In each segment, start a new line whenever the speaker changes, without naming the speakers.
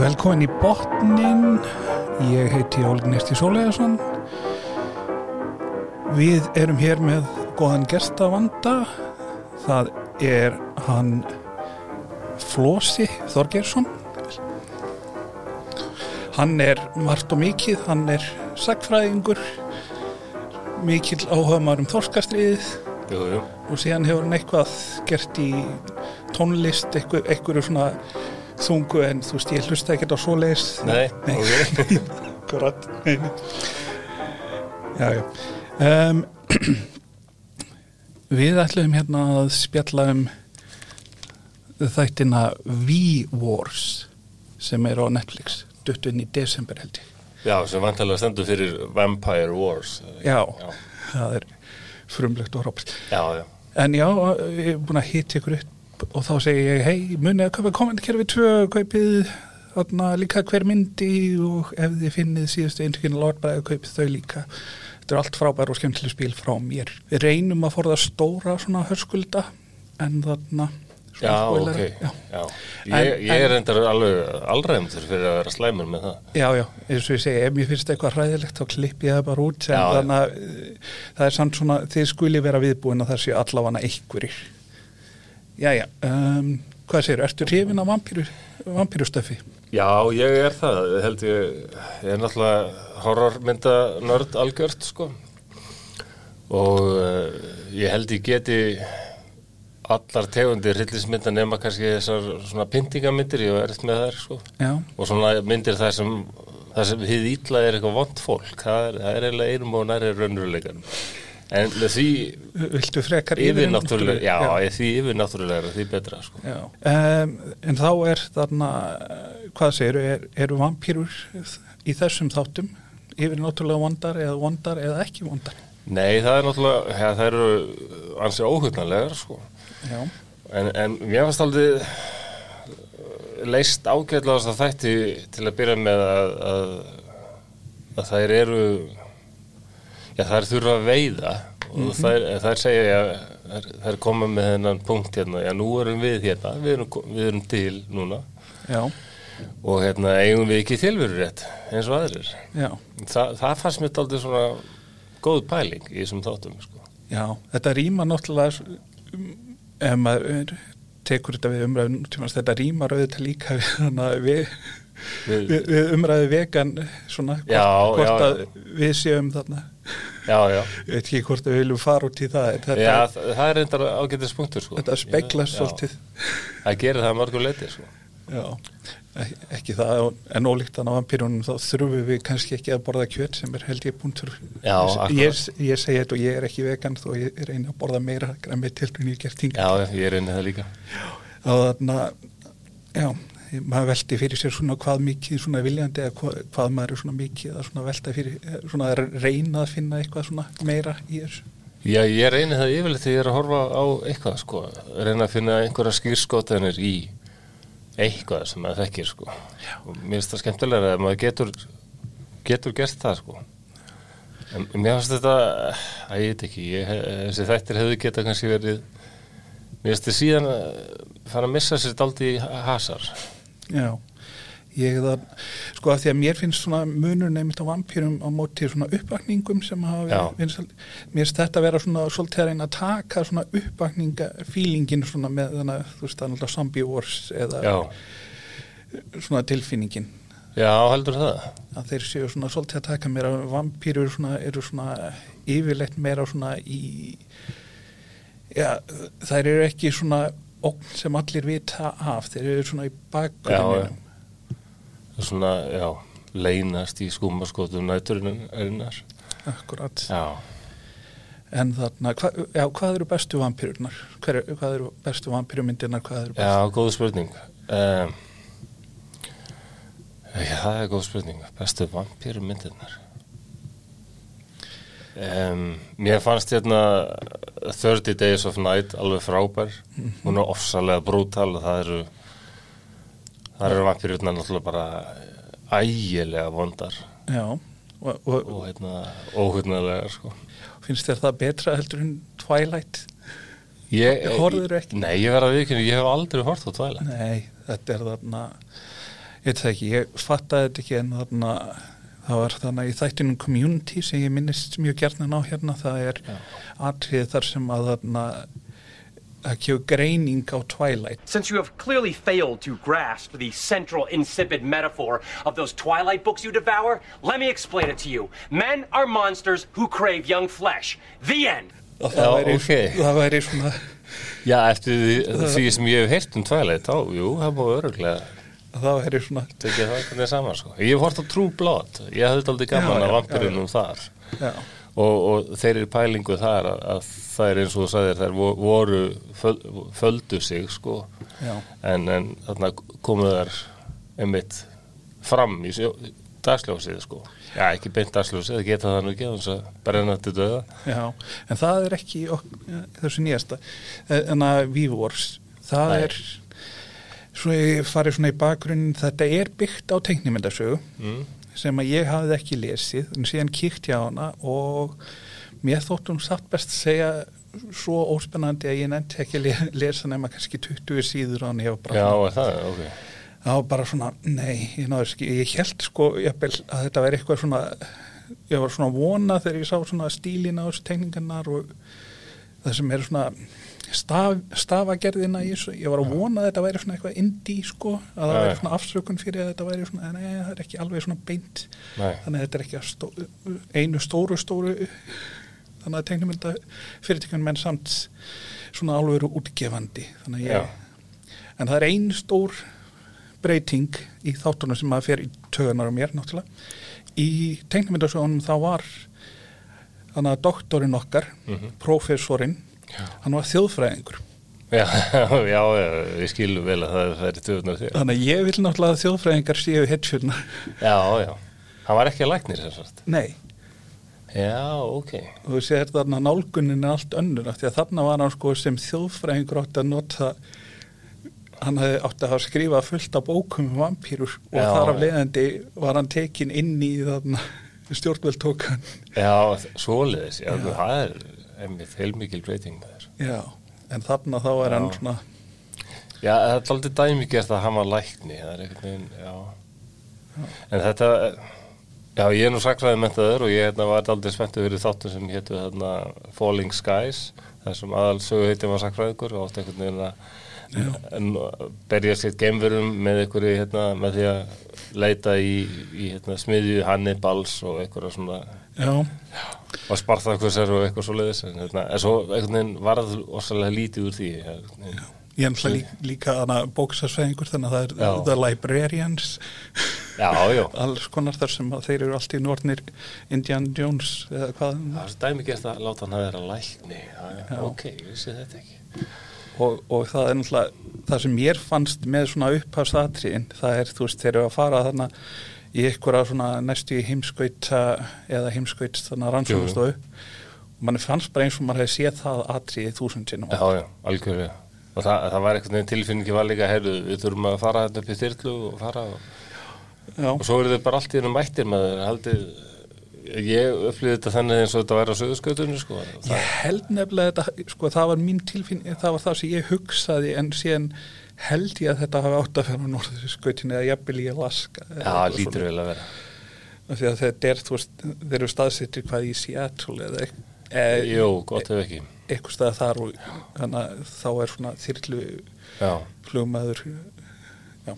velkomin í botnin ég heiti Ólg Nýrti Sólegason við erum hér með góðan gestavanda það er hann Flósi Þorgersson hann er margt og mikið hann er sagfræðingur mikill áhugaðmar um þorskastriðið
Jú, jú.
og síðan hefur hann eitthvað gert í tónlist eitthvað, eitthvað svona þungu en þú veist ég hlusta ekkert á svoleiðis
Nei,
Nei.
ok.
akkurat Nei. já, já. Um, við ætlum hérna að spjalla um þættina V-Wars sem er á Netflix duttun í desember held ég
Já, sem vantilega stendur fyrir Vampire Wars. eða ekki?
já,
Já,
það er frumlegt og hrópst
já. já.
En já, ég er búin að hitta ykkur upp og þá segi ég, hei, munið að kaupa kommentkerfi 2, kaupið þarna líka hver myndi og ef þið finnið síðustu eintökinu lort bara að kaupið þau líka. Þetta er allt frábær og skemmtileg spil frá mér. Við reynum að forða stóra svona hörskulda en þarna svona
Já,
spoilerar.
ok.
Já.
Já.
En-
Ég, ég er
en-
endar alveg allræmdur fyrir að vera slæmur með það.
Já, já, eins og ég segi, ef mér finnst eitthvað hræðilegt þá klipp ég það bara út en
Já, já.
þannig að eh, það er samt svona, þið skuli vera viðbúin að það séu allavega einhverjir. Jæja, um, hvað segir, ertu hrifin af vampíru, vampírustöfi?
Já, ég er það. Held ég, ég er náttúrulega horrormynda nörd algjört, sko. Og uh, ég held ég geti allar tegundir hryllismynda nema kannski þessar svona pyntingamyndir, ég er eftir með þær, sko.
Já,
og svona myndir það sem það sem hið ítla er eitthvað vond fólk það er, það er eiginlega einum og næri raunveruleikanum en með því
viltu frekar
yfirnáttúrulega já, já. því yfirnáttúrulega því betra sko.
já. Um, en þá er þarna, eh, hvað segir, er, eru vampírur í þessum þáttum yfir náttúrulega vondar eða vondar eða ekki vondar?
nei, það er náttúrulega ja, það eru ansi óhugnarlegar sko.
Já,
en, en mér fannst eh, aldrei leist ágætlega þess að þætti til að byrja með að, að, að þær eru já, þær þurfa að veiða og þær, eh, þær segja já, þær, þær koma með þennan punkt hérna já, nú erum við hérna, við erum, ko- við erum til núna
já,
og hérna eigum við ekki tilveru rétt eins og aðrir
já.
Þa, það fannst mér aldrei svona góð pæling í þessum þáttum sko.
Já, þetta rýma náttúrulega s- um, ef maður tekur þetta við umræðu nútímans, þetta rýma rauðið líka við, hana, við,
Við-
við, við umræðu vegan svona, hvort,
Já,
hvort
já.
að við séum þarna
já, já
ég veit ekki hvort að við viljum fara út í það en þetta,
Já, þa- það er reyndar ágætis punktur sko.
þetta speglast
Já.
svolítið
Það gerir það mörgum leiti sko.
já, ek- ekki það en ólíkt hann á vampírunum þá þurfum við kannski ekki að borða kjöt sem er held ég punktur
Já, akkurat.
ég, ég segi þetta og ég er ekki vegan þó ég reyni að borða meira græmið til hún ég gert hinga
Já, ég er einnig það líka
að þarna já, maður veldi fyrir sér svona hvað mikið svona viljandi eða hvað, hvað maður er svona mikið að svona velta fyrir eh, svona að reyna að finna eitthvað svona meira í þessu
Já, ég er einnig það yfirleitt þegar ég er að horfa á eitthvað sko, reyna að finna einhverja skýrskotanir í eitthvað sem maður þekkir sko. og mér finnst það skemmtilega að maður getur getur gert það sko. en mér finnst þetta að ég veit ekki, ég, þessi þættir hefðu geta kannski verið mér finnst þið síðan að fara að missa sér daldi í hasar
já, ég það sko að því að mér finnst svona munur nefnilt á vampýrum á móti svona uppvakningum sem hafa
Já.
verið vinsæl mér finnst þetta vera svona svolítið að reyna að taka svona uppvakninga fílingin svona með þannig að þú veist það er náttúrulega zombie wars eða
Já,
svona tilfinningin
já heldur það
að þeir séu svona svolítið að taka mér að vampýrur svona, eru svona yfirleitt meira svona í já, þær eru ekki svona ógn sem allir vita af þeir eru svona í bakgrunni
svona, já, leynast í skúmaskotum næturinn einar.
akkurat
Já.
en þarna, hva, já, hvað eru bestu vampýrunar Hver, hvað eru bestu vampýrumyndirnar hvað eru bestu
Já, góð spurning. Um, já, það er góð spurning. Bestu vampýru myndirnar. Um, mér fannst hérna 30 Days of Night alveg frábær. Hún er ofsalega brútal og það eru það eru vampýrurnar náttúrulega bara ægilega vondar
já, og, og,
og hérna óhugnarlegar sko.
finnst þér það betra heldur en Twilight
Ég,
Horfðirðu ekki?
Nei, ég verða viðkynni, ég hef aldrei hort á tvæla.
nei, þetta er þarna ég veit það ekki, ég fattaði þetta ekki en þarna það var þannig að í þættinum community sem ég minnist mjög gerna á hérna það er
Já.
atrið þar sem að þarna það kemur greining á Twilight
Since you have clearly failed to grasp the central insipid metaphor of those Twilight books you devour, let me explain it to you. Men are monsters who crave young flesh. The end.
og það,
Já,
væri,
ok.
það væri svona
Já, eftir því, því sem ég hef heyrt um Twilight, þá, jú, það má öruglega
það væri svona
tekið það einhvern veginn saman, sko. Ég hef hort á True Blood, ég hafði þetta aldrei gaman
Já,
af
já,
vampirunum þar
já,
og, og þeir eru pælingu þar að, að það er eins og þú sagðir, þær vo- voru, föl, földu sig, sko,
já,
en, en þarna komuð þær einmitt fram í sjó- dagsljósið, sko. Já, ekki beint dagsljósið, það geta það nú ekki, þannig að brenna þetta döða.
já en það er ekki ok, þessu nýjasta Eh, en að Vívors það
Nei.
er svo ég farið svona í bakgrunnin þetta er byggt á teiknimyndasögu
Mm.
sem að ég hafði ekki lesið en síðan kíkt ég á hana og mér þótt hún satt best að segja svo óspennandi að ég nefndi ekki að le- lesa nema kannski 20 síður á hann ég var bara
Já,
svona-
er það, ok.
það var bara svona, nei, ég náður ekki ég held sko, jafnvel, að þetta væri eitthvað svona ég var svona vona þegar ég sá svona stílina á þessu teikningarnar og það sem er svona staf, stafagerðina í þessu ég var að vona að þetta væri svona eitthvað indie sko, að það
Já,
væri
já.
svona afsökun fyrir að þetta væri svona, nei, það er ekki alveg svona beint
Nei.
þannig að þetta er ekki að stó, einu stóru stóru þannig að teiknumynda fyrirtekjum menn samt svona alveg eru útgefandi þannig að ég, en það er ein stór breyting í þáttunum sem maður fer í tögunar á mér náttúrulega í teiknumyndasögunum þá var þannig að doktorinn okkar prófessorinn, hann var þjóðfræðingur
Já, já, já, ég skilum vel að það, það er í töfunar þér.
þannig að ég vil náttúrulega að þjóðfræðingar séu hetsjurnar,
Já, já. Hann var ekki að læknir sem sagt.
nei
Já, ok.
og þú sér þarna nálgunin er allt önnur af því að þarna var hann sko sem þjóðfræðingur átti að nota hann hefði átti að hafa skrifað fullt af bókum um vampýrur og
Já.
þar af leiðandi var hann tekin inn í þarna stjórnveld tók hann
Já, þ- svoleiðis. Já, það er einmitt heilmikil breyting með þér.
já, en þarna þá er hann
Já.
svona
Já, það er aldrei dæmigert að hann var lækni. Það er einhvern veginn, já. En þetta, já, ég er nú saklaði með það og ég hérna, var aldrei spenntu fyrir þáttum sem hétu hérna, Falling Skies, þar sem aðal sögu heitum var saklaðikur og átti einhvern veginn að en berja sér geimverum með einhverju hérna, með því að leita í, í hérna, smiðju Hannibals og einhverja svona
já,
og Spartakusar og eitthvað svo leiðis en, hérna, en svo einhvern veginn varð ósalega lítið úr því hérna.
ég er náttúrulega líka, líka hana bóksasfræðingur þannig að það
Já.
er the librarians
Já, já,
alls konar þar sem að þeir eru allt í nortnir Indiana Jones eða hvað
það er svo dæmi gert að láta hann að vera lækni það, er- ok, ég vissi þetta ekki
og, og það er náttúrulega það sem mér fannst með svona upphafsatriðin það er þú veist þeir eru að fara þarna í einhverja svona næstu í heimskauta eða heimskaut þarna rannsóknastofu og mann fannst bara eins og maður hefði séð það atriði þúsund sinnum
Já, já, algjörlega og það, það var einhvern veginn tilfinningi var líka heyrðu, við þurfum að fara þetta upp í þyrlu og fara og,
Já,
og svo eru þau bara allt í einu mættir með þeir haldið ég upplýði þetta þannig eins og þetta væri á söðuskautunni sko. það,
ég held nefnilega þetta sko það var mín tilfinning, það var það sem ég hugsaði en síðan held ég að þetta hafi átt að fyrir norðurskautinu eða jafnvel í Alaska eða
Já,
eitthvað
lítur
svoleiðis.
vel að vera
Af því að þetta er, þú veist, þeir eru staðsettir hvað í Seattle eða e,
Jú, gott ef ekki
eitthvað staðar þar og þannig að þá er svona þyrlu
Já
flugmaður já,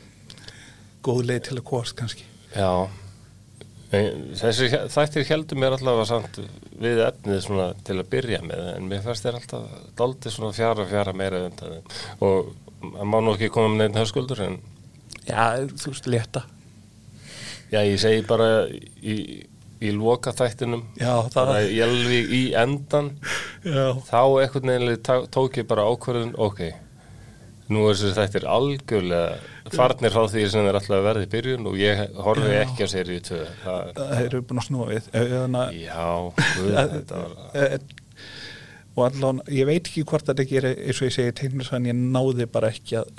góð leið til að komast kannski
Já Nei, Þessi þættir heldur mér allavega samt við efnið svona til að byrja með en mér fannst þér alltaf daldið svona fjara fjara meira undan þeim og það má nú ekki koma með neitt höskuldur en
já, þú veist, leta
já, ég segi bara í, í loka þættinum
já, það,
bara í alveg í endan
já,
þá einhvern veginn tá- tók ég bara ákvörðun ok, nú er þessi þættir algjörlega farnir frá því sem þeir alltaf verði í byrjun og ég horfi ekki á seríu 2 það,
það eru búin að snúa við Eh, þannig
Já, guð,
að
þetta var
eh, eh, og allan, ég veit ekki hvort þetta gerir eins og ég segi teiknarsan, ég náði bara ekki að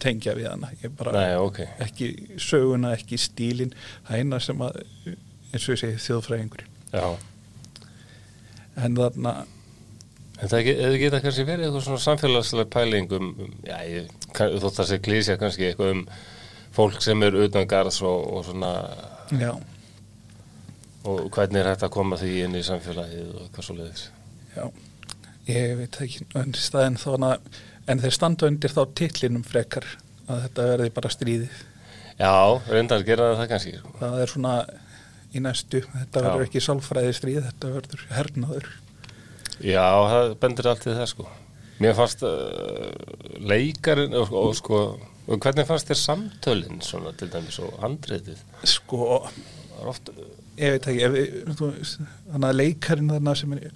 tengja við hana ég bara
Nei, ok,
ekki söguna, ekki stílin það eina sem að eins og ég segi þjóðfræðingurinn
já
en þarna,
En það ge- það geta kannski verið eitthvað svona samfélagslega pæling um, um, já, ég, kann- þótt það sé klísja kannski eitthvað um fólk sem er utan garðs og, og svona
já,
og hvernig er hægt að koma því inn í samfélagið og hvað svo leiðis
já ég veit það ekki en staðin þóna en þeir standa undir þá titlinum frekar að þetta verði bara stríðið
Já, reyndar gera það kannski sko.
það er svona í næstu þetta
Já.
verður ekki sálfræði stríð þetta verður hernaður
Já, það bendir allt í það sko Mér fannst uh, leikarinn og, og sko og hvernig fannst þér samtölin svona til dæmis og handriðið
sko,
Það er oft
ég veit ekki ef við- þú veist, þannig að leikarinn þarna sem er,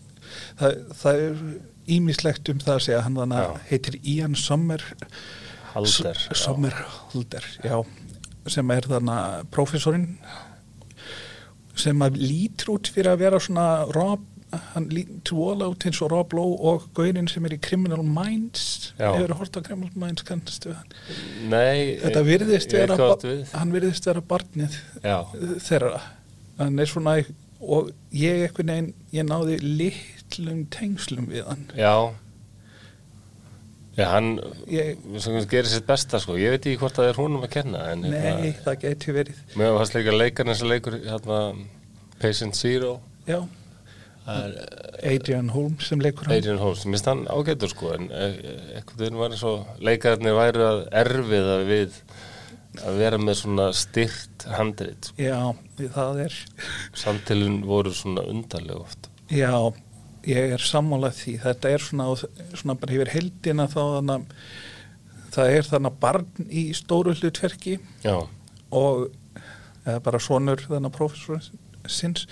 það, það er ímislegt um það að segja hann þannig
Já.
heitir Ian Sommer
halder
S- Sommer Halder, já sem er þarna prófessorinn sem að lítur út fyrir að vera svona Rob, hann lítur vola út eins og Rob Lowe og gaurinn sem er í Criminal Minds
Já.
hefur hort á Criminal Minds kannstu við hann
Nei,
þetta
ég-
virðist
ég veit
vera,
hvað
ba-
áttu við.
hann virðist vera barnið
Já,
þeirra hann er svona og ég einhvern veginn, ég náði litlum tengslum við hann
já Já, hann
Ég-
sem gerir sitt besta sko, ég veit ekki hvort það er húnum að kenna en
nei,
hérna,
það gæti verið
mér fannst líka leikarinn sem leikur hérna, Patient Zero
já, Eh,
það er
Adrian Holmes sem leikur hann
Adrian Holmes, mér stann ágætur sko en eh, einhvern veginn var eins og leikarnir væru að erfiða við að vera með svona styrt handrit, sko.
já, það er
samtilun voru svona undarlega oft
já, ég er sammálað því þetta er svona, svona bara hefur heldina þá þannig það er þannig barn í stóru hlutverki
Já,
og eða bara sonur þannig professor sinns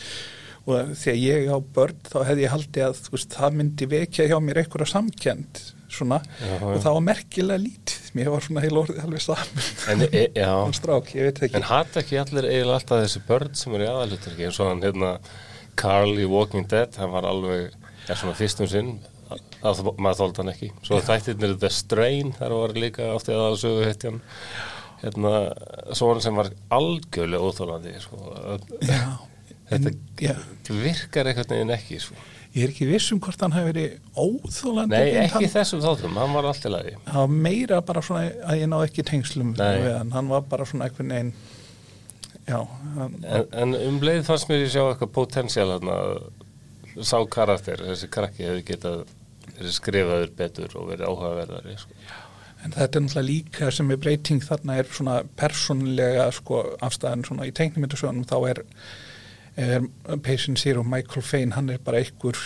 og þegar ég á börn þá hefði ég haldið að þú veist, það myndi vekja hjá mér einhverja samkjönd svona
Já, já.
og það var merkilega lítið mér var svona heil orðið alveg saman
en, e, já.
en strák, ég veit ekki
en hatt ekki allir eiginlega alltaf þessi börn sem eru í aðalutur eins og hann hérna Carl í Walking Dead, hann var alveg er svona fyrstum sinn að maður þóldi hann ekki, svo þættirnir The Strain, þar var líka oft í aðalsögu heitjan hérna, svo hann sem var algjörlega óþólandi sko,
já, en,
Þetta-
já,
Þetta virkar einhvern veginn ekki sko.
ég er ekki viss um hvort hann hafi verið óþólandi
Nei, ekki þessum þáttum, hann var alltaf lagi
það var meira bara svona að ég náði ekki tengslum
Nei.
við hann, hann var bara svona einhvern veginn já, hann,
en, en um leið fannst mér ég sjá eitthvað potensial hann sá karakter, þessi krakki hefði getað verið skrifaður betur og verið áhugaverðari sko.
En þetta er náttúrulega líka sem er breyting þarna er svona persónlega sko, afstæðan svona í teiknumyndasögunum þá er, er Patient Zero Michael Fane, hann er bara einhver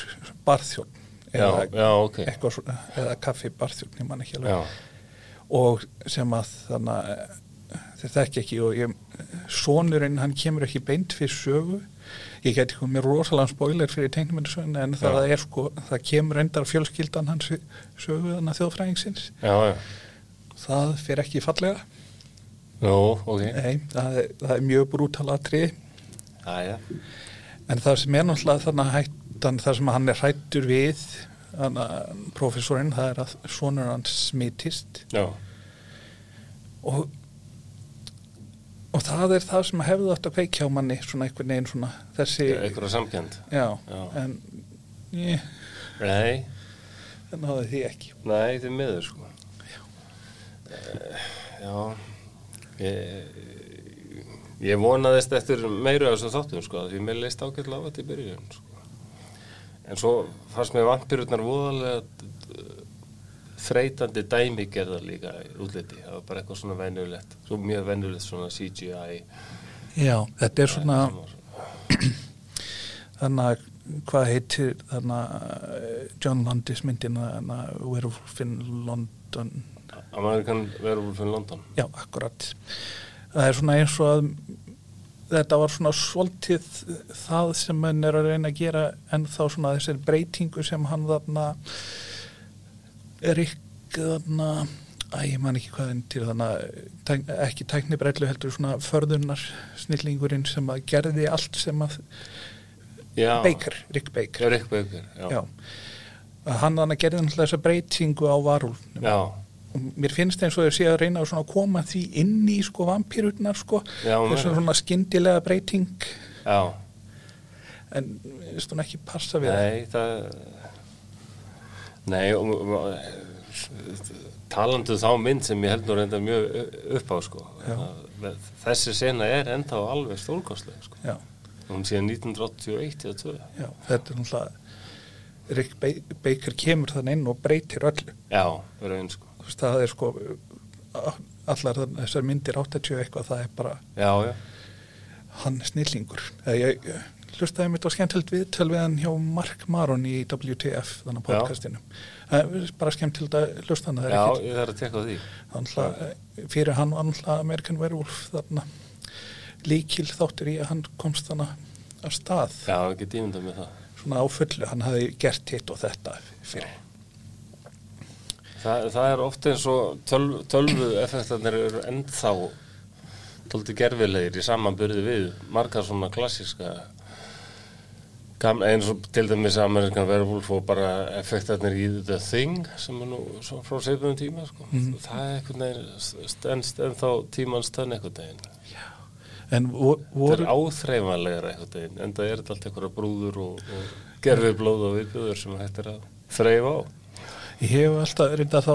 barþjón
Já, já, ok
eitthvað svona, eða kaffi barþjón ég man ekki alveg
Já,
og sem að þannig að þeir þekki ekki og ég, sonurinn hann kemur ekki beint fyrir sögu ég geti komið mér rosalega spoiler fyrir teiknumyndasögunum en það er sko það kemur endar fjölskyldan hans í sögu þannig að þjóðfræðingsins
já, já
það fyrir ekki fallega
Nú, ok
Nei, það er, það er mjög brútal atrið
Æja,
en það sem er náttúrulega þannig hættan það sem hann er hættur við þannig professorinn, það er að sonur hans smitist
já,
og, og það er það sem hefði átt að kveikja á manni svona einhvern veginn svona þessi, já,
eitthvað samkjönd Já.
en ég,
Nei,
það náði því ekki
nei, þið miður sko Eh, Já Ég Ég vonaðist eftir meira af þessu þáttum sko, því mér leist ágætlega á þetta í byrjun sko. En svo fannst mér vampirutnar voðalega eh, þreytandi dæmi gerða líka í útliti, það var bara eitthvað svona venjulegt, svo mjög venjulegt svona CGI
já, þetta er svona
sem var-
þannig að hvað heitir þannig að John Landis myndina þannig að Werewolf in London
Amerikan verður fyrir London
Já, akkurat. Það er svona eins og að þetta var svona svolítið það sem hann er að reyna að gera en þá svona þessir breytingu sem hann þarna Rick þarna æ, ég man ekki hvað hann til þarna tæk, ekki tæknibrellu heldur svona förðunar snillingurinn sem að gerði allt sem að
Já,
Baker, Rick Baker
Já, Rick Baker, já
Já. Að hann þannig gerði náttúrulega þessa breytingu á varulnum
Já,
og mér finnst eins og ég sé að reyna að svona koma því inn í sko vampýrurnar sko
Já, hún
þessu
er.
svona skyndilega breyting
já.
en veist hún ekki passa við það.
Nei, það Nei, og, og, talandu þá mynd sem ég held nú reynda mjög u- upp á sko. Að þessi sena er ennþá alveg stórkostlega sko.
já,
hún sé 1981 eða 2
já, þetta er náttúrulega Rick Ba- Baker kemur þannig inn og breytir öllu
já, raun sko
Þú veist, það er sko uh, allar þarna- þessar myndir 80 eitthvað það er bara
já, já,
hann er snillingur Eða ég, ég hlustaði mitt á skemmtild viðtöl við hann hjá Mark Maron í WTF þannig að
Já.
podcastinu Það er bara skemmtild að hlusta hann það er
já,
ekkert-
ég þarf að tekka á því
Þannig eh, fyrir hann var náttúrulega American Werewolf þarna líkil þáttur í að hann komst þannig af stað
já, ekki dýmynda með það
svona á fullu, hann hafði gert hitt og þetta fyrir.
Þa, það er oft eins og tölv, tölvu effektarnir eru ennþá tóldi gerfilegir í samanburði við margar svona klassíska gam, eins og til dæmis Amerikan Werewolf og bara effektarnir í The Thing sem er nú svo frá seifum tíma sko. það er einhvern veginn stendst ennþá tímans tönn einhvern veginn
En vo-
það er
voru,
áþreifanlegar einhvern veginn en það er þetta allt einhverja brúður og, og gerfið blóð og viðbjöður sem hægt er að þreifa á
ég hef alltaf reynda þá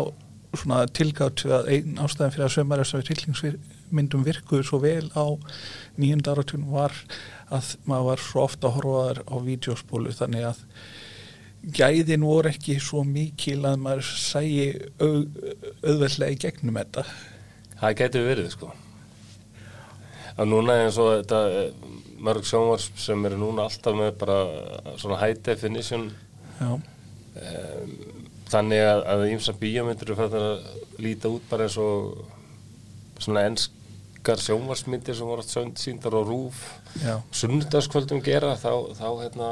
svona tilgátt við að einn ástæðan fyrir að sömur þessari tillingsmyndum virkuðu svo vel á nýjunda áratun var að maður var svo ofta horfaðar á vídeospólu þannig að gæðin voru ekki svo mikil að maður sæi au, auðveldlega í gegnum þetta.
Það getur verið sko að núna eins og þetta eh, mörg sjónvarp sem eru núna alltaf með bara eh, svona high definition eh,
Já,
þannig að, að ímsa bíómyndir eru fættar að líta út bara eins og svona enskar sjónvarsmyndir sem voru sönd- sýndar á rúf
já,
sunnudagskvöldum gera þá, þá hérna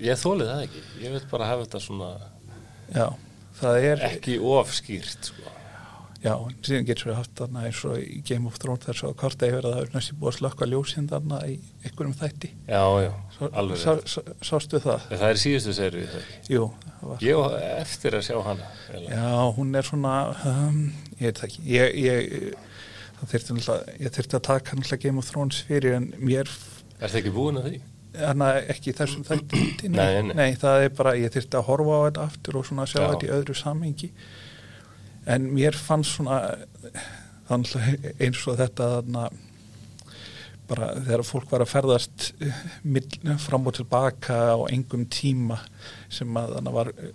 ég þóli það ekki, ég vil bara hafa þetta svona
já. Það er,
ekki ofskýrt sko
já, síðan getur við haft þarna eins og í Game of Thrones þar svo að korta yfir að það er næstu búið að slökka ljósinn þarna í einhverjum þætti.
já, já,
Svo,
alveg
sá,
rétt.
sá, sástu það?
það er síðustu serið það ekki
Jú, það var.
Ég á eftir að sjá hana eiginlega.
Já, hún er svona, um, ég veit það ekki, ég, ég, það þyrfti náttúrulega, ég þyrfti að taka náttúrulega Game of Thrones fyrir en mér,
Er það ekki búin að því?
hann ekki í þessum þætti,
Nei, nei.
nei, það er bara, ég þyrfti að horfa á þetta aftur og svona sjá
Já.
þetta í öðru samhengi, en mér fannst svona, þannig eins og þetta, þarna, bara þegar fólk var að ferðast eh, mill- fram og tilbaka á engum tíma sem að þannig var eh,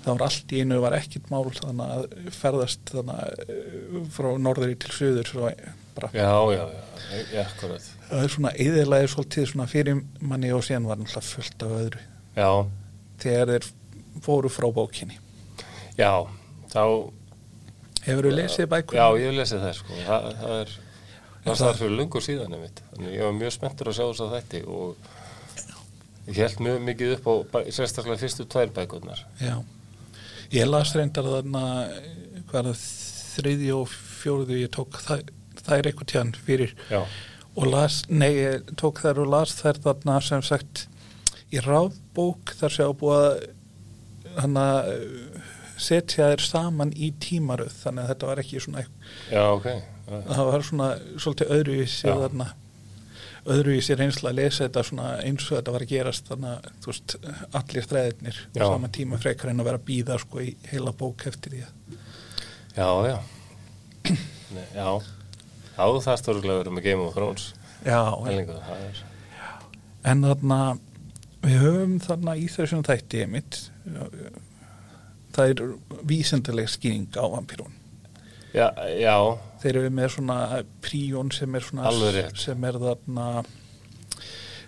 það var allt í einu var ekkit mál þannig að ferðast þannig að, eh, frá norðri til söður svo bara
Já, já, já, já, akkurat.
það er svona eðilaði svolítið svona fyrir manni og síðan var náttúrulega fullt af öðru
Já,
þegar þeir fóru frá bókinni
já, þá,
Hefur þú lesið bækur?
já, ég hef lesið það, sko, það, það er, það er það fyrir lungu síðan, einmitt. Þannig ég var mjög spenntur að sjá þess að þætti og ég held mjög mikið upp á, bæ- sérstaklega fyrstu tvær bækurnar.
Já. Ég las reyndar þarna eh, hvað er það, þriðju og fjóruðu ég tók þær, þær eitthvað tján fyrir
Já.
og las, nei, ég tók þær og las þær þarna sem sagt í ráðbók þar sem á búið að hana, setja þær saman í tímaröð þannig að þetta var ekki svona
Já, ok, já,
það var svona svolítið öðruvísi
Já.
þarna öðruvísi reynsla að lesa þetta svona eins og þetta var að gerast þannig að þú veist allir þræðirnir á
Já.
sama tíma frekar en að vera að býða sko í heila bók eftir því að
já, já, Nei, já, þá það stórglega verið með Game of Thrones,
já, en,
hellingu, það er,
en þarna við höfum þarna í þessum þætti mitt það er vísendaleg skýring á vampírun
já, já,
þeir eru með svona príjón sem er svona
Alveg rétt.
sem er þarna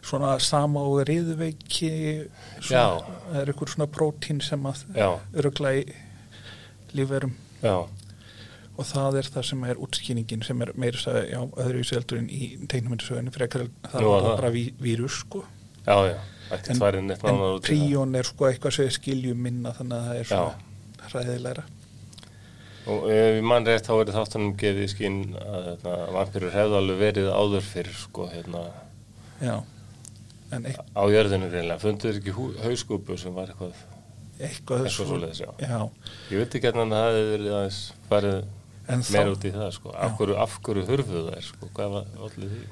svona sama og riðveiki
Já.
svona, það er ykkur svona prótín sem að
já,
örugla í lífverum
já,
og það er það sem er útskýningin sem er meira að já, öðru í seldurinn í teiknumyndisögunni frekar en það
Nú,
var
það.
bara ví, vírus sko
já, já, ekki tværinn neitt
en
nánar út í það.
príjón er sko eitthvað sem við skiljum minna þannig að það er
Já.
svona hræðilegra
Og ef ég mann rétt þá verið þáttunum gefið í skín að hérna, vampýrur hefðu alveg verið áður fyrir sko hérna
já en e- eit-
á jörðinu reynilega. Funduðu ekki hú- hauskúpu sem var eitthvað,
eitthvað,
eitthvað svoleiðis, já.
já
Ég veit ekki hvernig það hefði verið aðeins farið
En
meira
þá-
út í það sko. Af hverju, af hverju hurfuðu þær sko, hvað var allir því?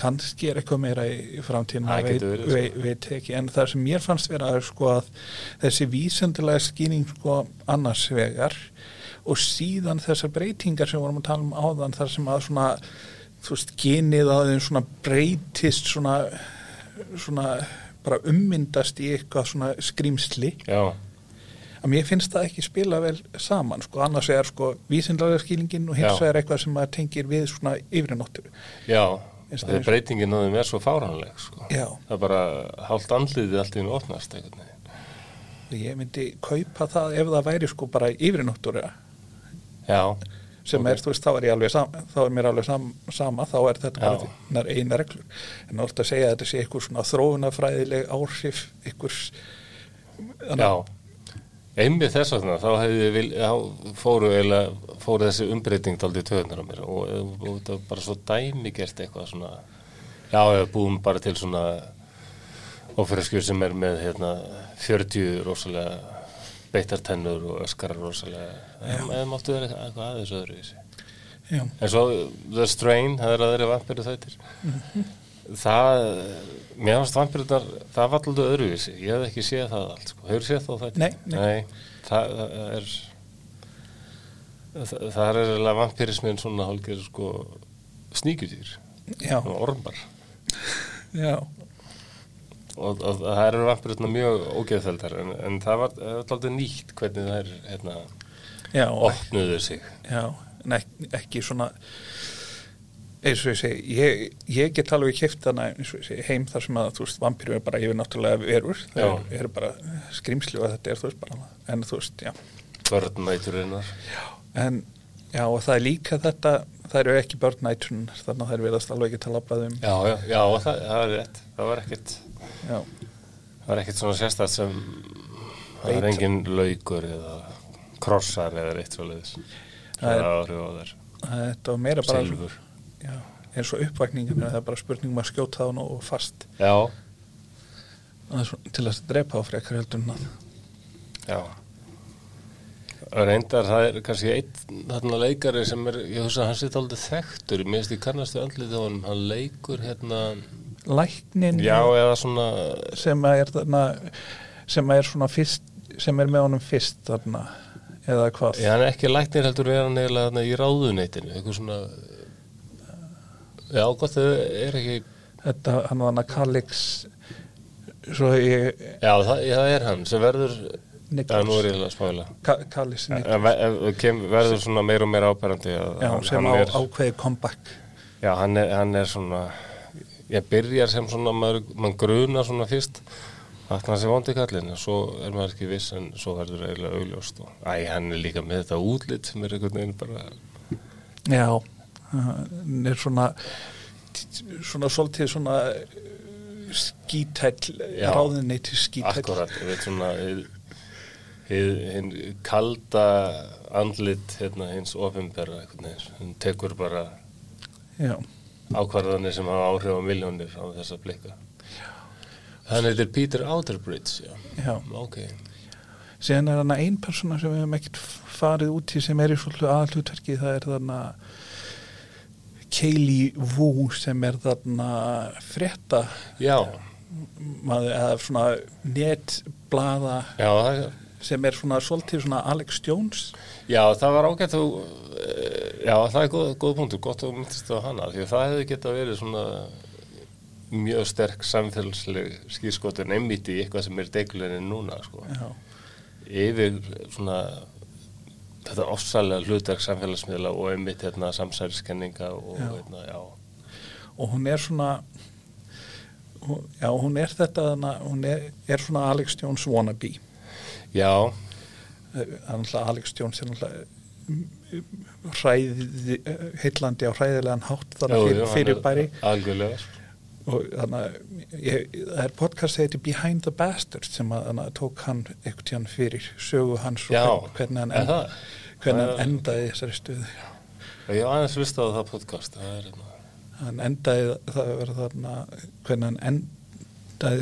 kannski er eitthvað meira í framtíðin
Það
veit,
getur verið, sko.
veit, veit ekki, en það sem mér fannst vera er sko að þessi vísendilega skýning sko annars vegar og síðan þessar breytingar sem vorum að tala um áðan þar sem að svona þú veist, genið að þeim svona breytist svona, svona bara ummyndast í eitthvað svona skrýmsli
Já,
að mér finnst það ekki spila vel saman sko, annars er sko vísindalega skýlingin og hins
Já.
vegar eitthvað sem maður tengir við svona yfirinóttur
já,
Eins og
það er
eins.
breytingin á þeim er svo fáránleg, sko.
Já.
Það er bara hálft andliðið allt í hennu opnast, einhvern veginn.
og ég myndi kaupa það ef það væri sko bara yfirinóttur
Já,
sem
Ok.
er, þú veist, þá er ég alveg sama þá er mér alveg sam, sama, þá er þetta
Já.
bara þínar eina reglur, en alltaf að segja að þetta sé eitthvað svona þróunafræðileg áhrif eitthvað
já. Einmið þess vegna, þá hefði ég vil, þá fóru, eiginlega, fóru þessi umbreyting aldrei töðunar á mér og, og, og það var bara svo dæmigert eitthvað svona, já, við búum bara til svona ofreskjur sem er með, hérna, 40 rosalega beittartennur og öskarar rosalega, eða eða máttu vera eitthvað- eitthvað aðeins öðru í þessi.
já,
En svo The Strain, það er aðri vampiru þættir. Það, mér finnst vampirunar, það var alltaf öðruvísi. Ég hef ekki séð það allt, sko. Hefur séð þá þættir?
Nei, nei.
það, það er, það, það er eiginlega vampirismin svona hálfgeir, sko, sníkjudýr,
já,
svona ormar.
já
Og, og það eru vampirunar mjög ógeðfeldar, en, en það var alltaf nýtt hvernig það er, hérna,
já, og
opnuðu sig.
Já, en ekki, ekki svona eins og ég segi ég, ég get alveg kæft hana eins og ég segi heim þar sem að þú veist vampíru er bara yfir náttúrulega verur það
Já.
eru er bara skrimsli og þetta er þú veist bara en þú veist, já,
Börnæturinnar.
en já og það er líka þetta það eru ekki börnætun þannig að það er verðast alveg ekki tala bara um
Já, já, já, það, það er rétt. Það var ekkert...
já,
Það er ekkert svona sérstætt sem það er
Beit.
engin laukur eða krossar eða eitt svo leiðis
Það
það
er-
er áhrif á þær
þetta var meira bara
silfur
já, eins og uppvakningin það er bara spurningum að skjóta það nú fast
já,
Það er svona til að drepa á frekar heldur en að
já Og reyndar það er kannski einn þarna leikari sem er ég hugsa að hann sitt aldrei þekktur mér finnst ég kannast við andlið á hann hann leikur hérna
læknin
já eða svona
sem að er þarna sem að er svona fyrst sem er með honum fyrst þarna eða hvað
já, hann er ekki læknir heldur er hann eiginlega þarna í ráðuneytinu eitthvað svona já gott þau er ekki
þetta hann var hann að Kalix svo ég
já það, það er hann sem verður já nú er
Niklas
ég eiginlega að spála
Ka- Kalix Niklas
Ef- ef- ef- kem, verður svona meira og meira áberandi að
já,
hann,
sem
hann
á
er,
ákveði comeback
já, hann, er, hann er svona ég byrjar sem svona maður, maður grunar svona fyrst að hann sé vondi kallin en svo er maður ekki viss en svo verður eiginlega augljóst og æ, hann er líka með þetta útlit sem er einhvern veginn bara
já hann er svona svona svolítið svona eh, skítæll
Já.
ráðinni til skítæll
akkurat, við svona hið, hið, hinn kalda andlit hérna, hins ofinbera einhvern veginn, hann tekur bara
já,
ákvarðanir sem hafa áhrif á miljónir á þessa blika Hann heitir Peter Outerbridge, já.
já
Mm, Ok,
síðan er hann ein persóna sem við hefum ekkert farið út í sem er í svolítið aðhlutverki það er þarna Kaylee Wu sem er þarna frétta
já,
maður, eða svona netblaða
já, það-
sem er svona svolítið svona Alex Jones
já, það var ágætt og eh, já, það er góð, góð punktur, gott og myndist á hana, því að það hefði geta verið svona mjög sterk samfélagsleg skýrskotun einmitt í eitthvað sem er deglunin núna, sko.
já,
Yfir svona þetta ofsalega hlutverk samfélagsmiðla og einmitt hérna samsæriskenninga og
Já.
hérna, já,
og hún er svona hún- já, hún er þetta þarna, hún er, er svona Alex Jones wannabe
já,
Þannig að Alex Jones er náttúrulega hræði, heitlandi á hræðilegan hátt þannig
Jú,
fyrir,
jú, hann
fyrir
er
bæri
Algjörlega, sko.
og þannig að ég- það er podcast sem heitir Behind the Bastard sem að þannig að tók hann einhvern tíðan fyrir sögu hans og
Já,
hvern- hvernig hann,
er
en,
það?
hvernig hann
Það er-
endaði í þessari stuði
Ég hef aðeins hlustað á það podcast, það er hérna.
hann endaði það að vera þarna hvernig hann endaði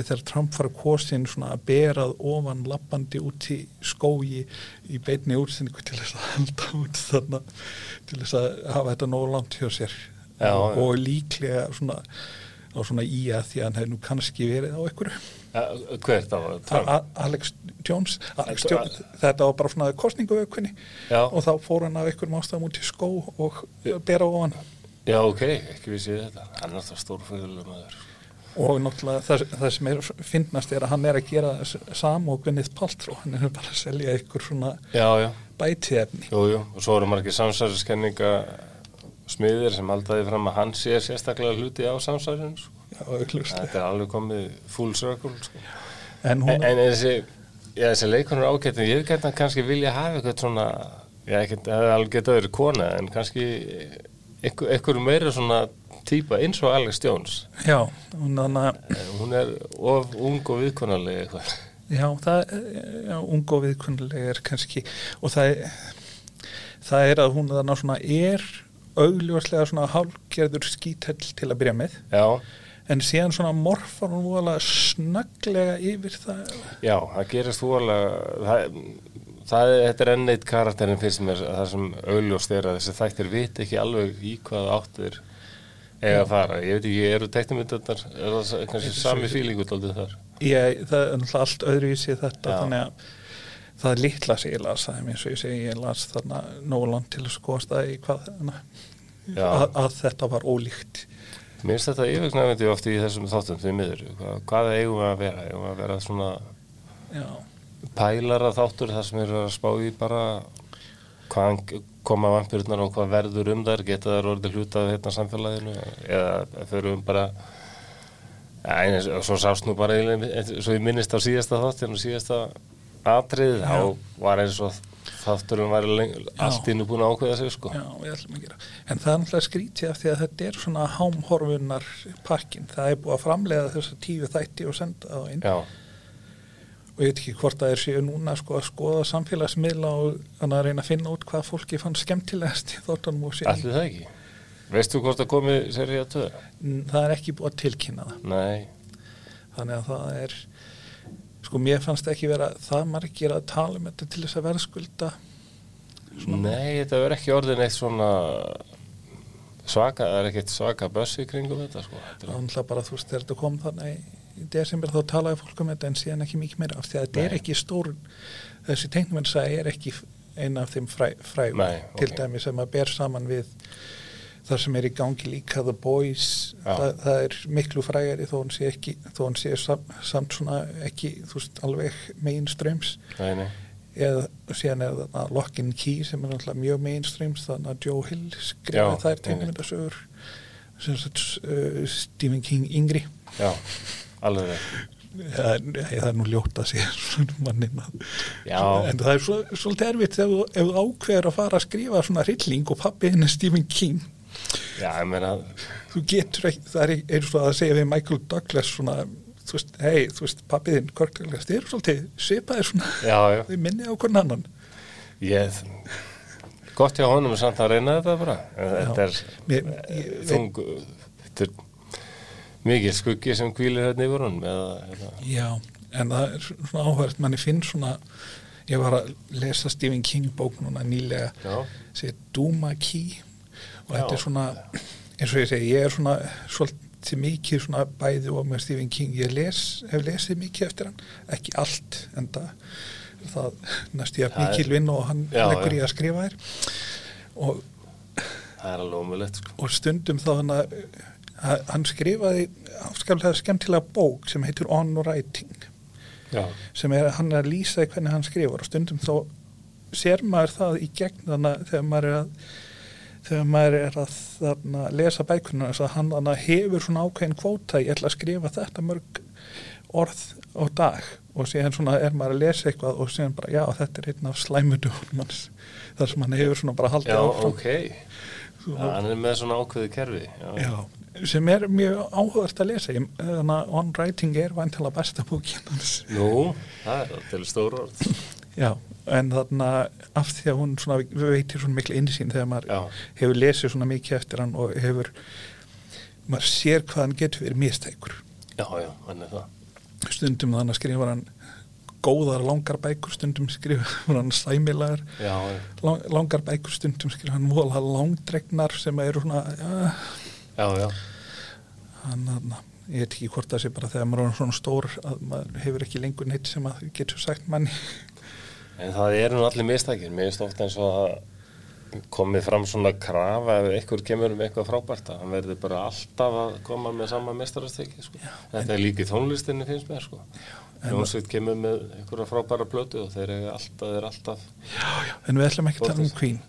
þegar Trump var kosin svona að berað ofan lappandi út í skógi í beinni útsendingu til þess að halda út þarna til þess að hafa þetta nóg langt hjá sér
Já, já.
og líklega svona og svona í að því að hann hefði nú kannski verið á einhverju
Eh, Hver það var? Trump?
A- Alex Jones, Alex
Þetta-
Jones þetta var bara svona kostninguvökunni
Já.
og þá fór hann af einhverjum ástæðum út í skó og bera á hann
Já, ok, ekki vissi ég þetta. Hann er alltaf stórfæðulega maður.
og náttúrulega það, það sem er finnast er að hann er að gera sam og Gwyneth Paltrow, hann er bara að selja einhver svona
Já, já,
bætiðefni
jú, jú. Og svo eru margir samsæðiskenninga smiðir sem haldaði fram að hann sé sérstaklega hluti á samsæðinu. Sko.
Já, augljóslega.
Þetta er alveg komið full circle. Sko.
en
En,
hún,
en þessi, já, þessi leikonur ágætt, en ég hef gætna kannski vilja hafa eitthvað svona, já, ekkert, það hefði alveg getað verið kona, en kannski einhver, einhver meira svona típa eins og Alex Jones.
já, hún þannig að
En Hún er of ung og viðkonarlega eitthvað.
Já, það, já, ung og viðkunnuleg er kannski, og það, er- það er að hún þarna svona er augljóslega svona hálgerður skítell til að byrja með,
Já,
en síðan svona morfar hún voðalega snögglega yfir það.
Já, það gerist fóðalega, það, það, þetta er enn eitt karakterin fyrst mér að það sem augljóst er að þessi þættir vit ekki alveg í hvað áttir eiga að fara. Ég veit ekki, eru teknimyndarnar, er það s- kannski sami fílingu daldið þar?
Ég, það er náttúrulega allt öðruvísi þetta,
Já.
þannig að það er litla sem ég las, það er eins og ég segi, ég las þarna Nólan til að skoðast það í hvað þarna,
Já.
að, að þetta var ólíkt.
Mér finnst þetta yfirgnæfandi oft í þessum þáttum því miður. Hvað, hvað eigum við að vera? Eigum við að vera svona
Já,
pælara þáttur þar sem eru að spá í bara hvaðan koma vampirnar og hvað verður um þær geta þær orðið hluta af hérna samfélaginu eða förum bara ja, en, eins- og svo sást nú bara eiginlega- eins- svo ég minnist á síðasta þáttin og síðasta atrið þá var eins og þátturum var allt innu búin að ákveða sig sko
Já, við ætlum að gera. En það er náttúrulega skrítið af því að þetta er svona hámhorfunnar pakkin. Það er búið að framlega þessa tíu þætti og senda það inn.
já,
Og ég veit ekki hvort það er séu núna sko að skoða samfélagsmiðla og þannig að reyna að finna út hvað fólki fann skemmtilegast í þóttanum og síðan.
allir það ekki veistu hvort það komið serið að töða?
Það er ekki búið að tilkynna það.
Nei,
Þannig að það er, sko mér fannst ekki vera það margir að tala um þetta til þess að verðskulda.
Nei, þetta verður ekki orðin eitt svona svaka, það er ekkert svaka bössi í kringum þetta sko. Þetta
Það
er-
var náttúrulega bara þú veist þegar þetta kom þannig í- í desember þá talaði fólk um þetta en síðan ekki mikið meira af því að þetta er
Nei.
ekki stór þessi tengnumenn sagði er ekki eina af þeim fræ, frægum
Nei, ok.
til dæmi sem að ber saman við þar sem er í gangi líka The Boys
Já.
það, það er miklu frægari þó hann sé ekki þó hann sé sam, samt svona ekki þú veist alveg mainstreams
Nei, nei,
eða síðan er þarna Lock and Key sem er náttúrulega mjög mainstreams þannig að Joe Hill
Já,
skrifa þær
einmitt.
tengnumenndasögur sem sagt uh, Stephen King yngri
já, alveg rétt.
Já, en- ég, það er nú ljótt að segja svona mannin að
Já.
en það er svo, svolítið erfitt ef, þú- ef þú ákveður að fara að skrifa svona rilling og pappi henni Stephen King
Já, ég meina,
þú getur ekki, það er eins og að segja við Michael Douglas svona þú veist, hei, þú veist, pappi þinn Kirk Douglas þið eru svolítið svipaðir svona
já, já,
þið minni á hvern annan
ég, gott hjá honum samt að reyna þetta bara. En Þetta er eh,
Mér, ég, veit,
þung, þetta er mikið skuggi sem kvílir hérna yfir honum eða, eða,
já, en það er svona áhverð manni finn svona ég var að lesa Stephen King bók núna nýlega
já,
segir Duma Key og
Já.
þetta er svona eins og ég segi, ég er svona svolítið mikið svona bæði og með Stephen King ég les, hef lesið mikið eftir hann ekki allt, en það, það næst ég að
Það er-
mikil vinn og hann
Já,
leggur
já.
í að skrifa þér og,
það er alveg ómulegt sko.
og stundum þá hann að að- hann skrifaði afskaplega skemmtilega bók sem heitir On Writing
Já,
sem er að hann er að lýsa í hvernig hann skrifar og stundum þá sér maður það í gegn þannig að þegar maður er að þegar maður er að þarna, lesa bækunum þess að hann þannig hefur svona ákveðin kvóta ég ætla að skrifa þetta mörg orð á dag og síðan svona er maður að lesa eitthvað og síðan bara já þetta er einn af slæmudunum hans þar sem hann hefur svona bara haldið
já
áfram
ok, hann er með svona ákveði kerfi. Já,
Já, sem er mjög áhugast að lesa Ég- þannig að On Writing er vantilega besta bókin hans
Nú, það er til stór orð.
Já, en þarna af því að hún svona veitir svona miklu innsýn þegar maður
Já.
hefur lesið svona mikið eftir hann og hefur maður sér hvað hann getur verið mistækur
Já, já, hann er það.
stundum þannig að skrifa hann góðar langar bækur, stundum skrifa hann sæmilagar
Já, já.
lang, langar bækur, stundum skrifa hann vola langdregnar sem eru svona ja,
Já, já,
hann, hann, ég veit ekki hvort það sé bara þegar maður er orðinn svona stór að maður hefur ekki lengur neitt sem að getur sagt manni
En það eru nú allir mistækir, mér finnst ofta eins og að komið fram svona krafa ef einhver kemur um eitthvað frábært að hann verður bara alltaf að koma með sama mestarasteki sko. þetta er líka í tónlistinni finnst mér sko. Jónsveit kemur með einhverja frábæra blötu og þeir eru alltaf, þeir eru alltaf
já, já, en við ætlum ekki að tala um Queen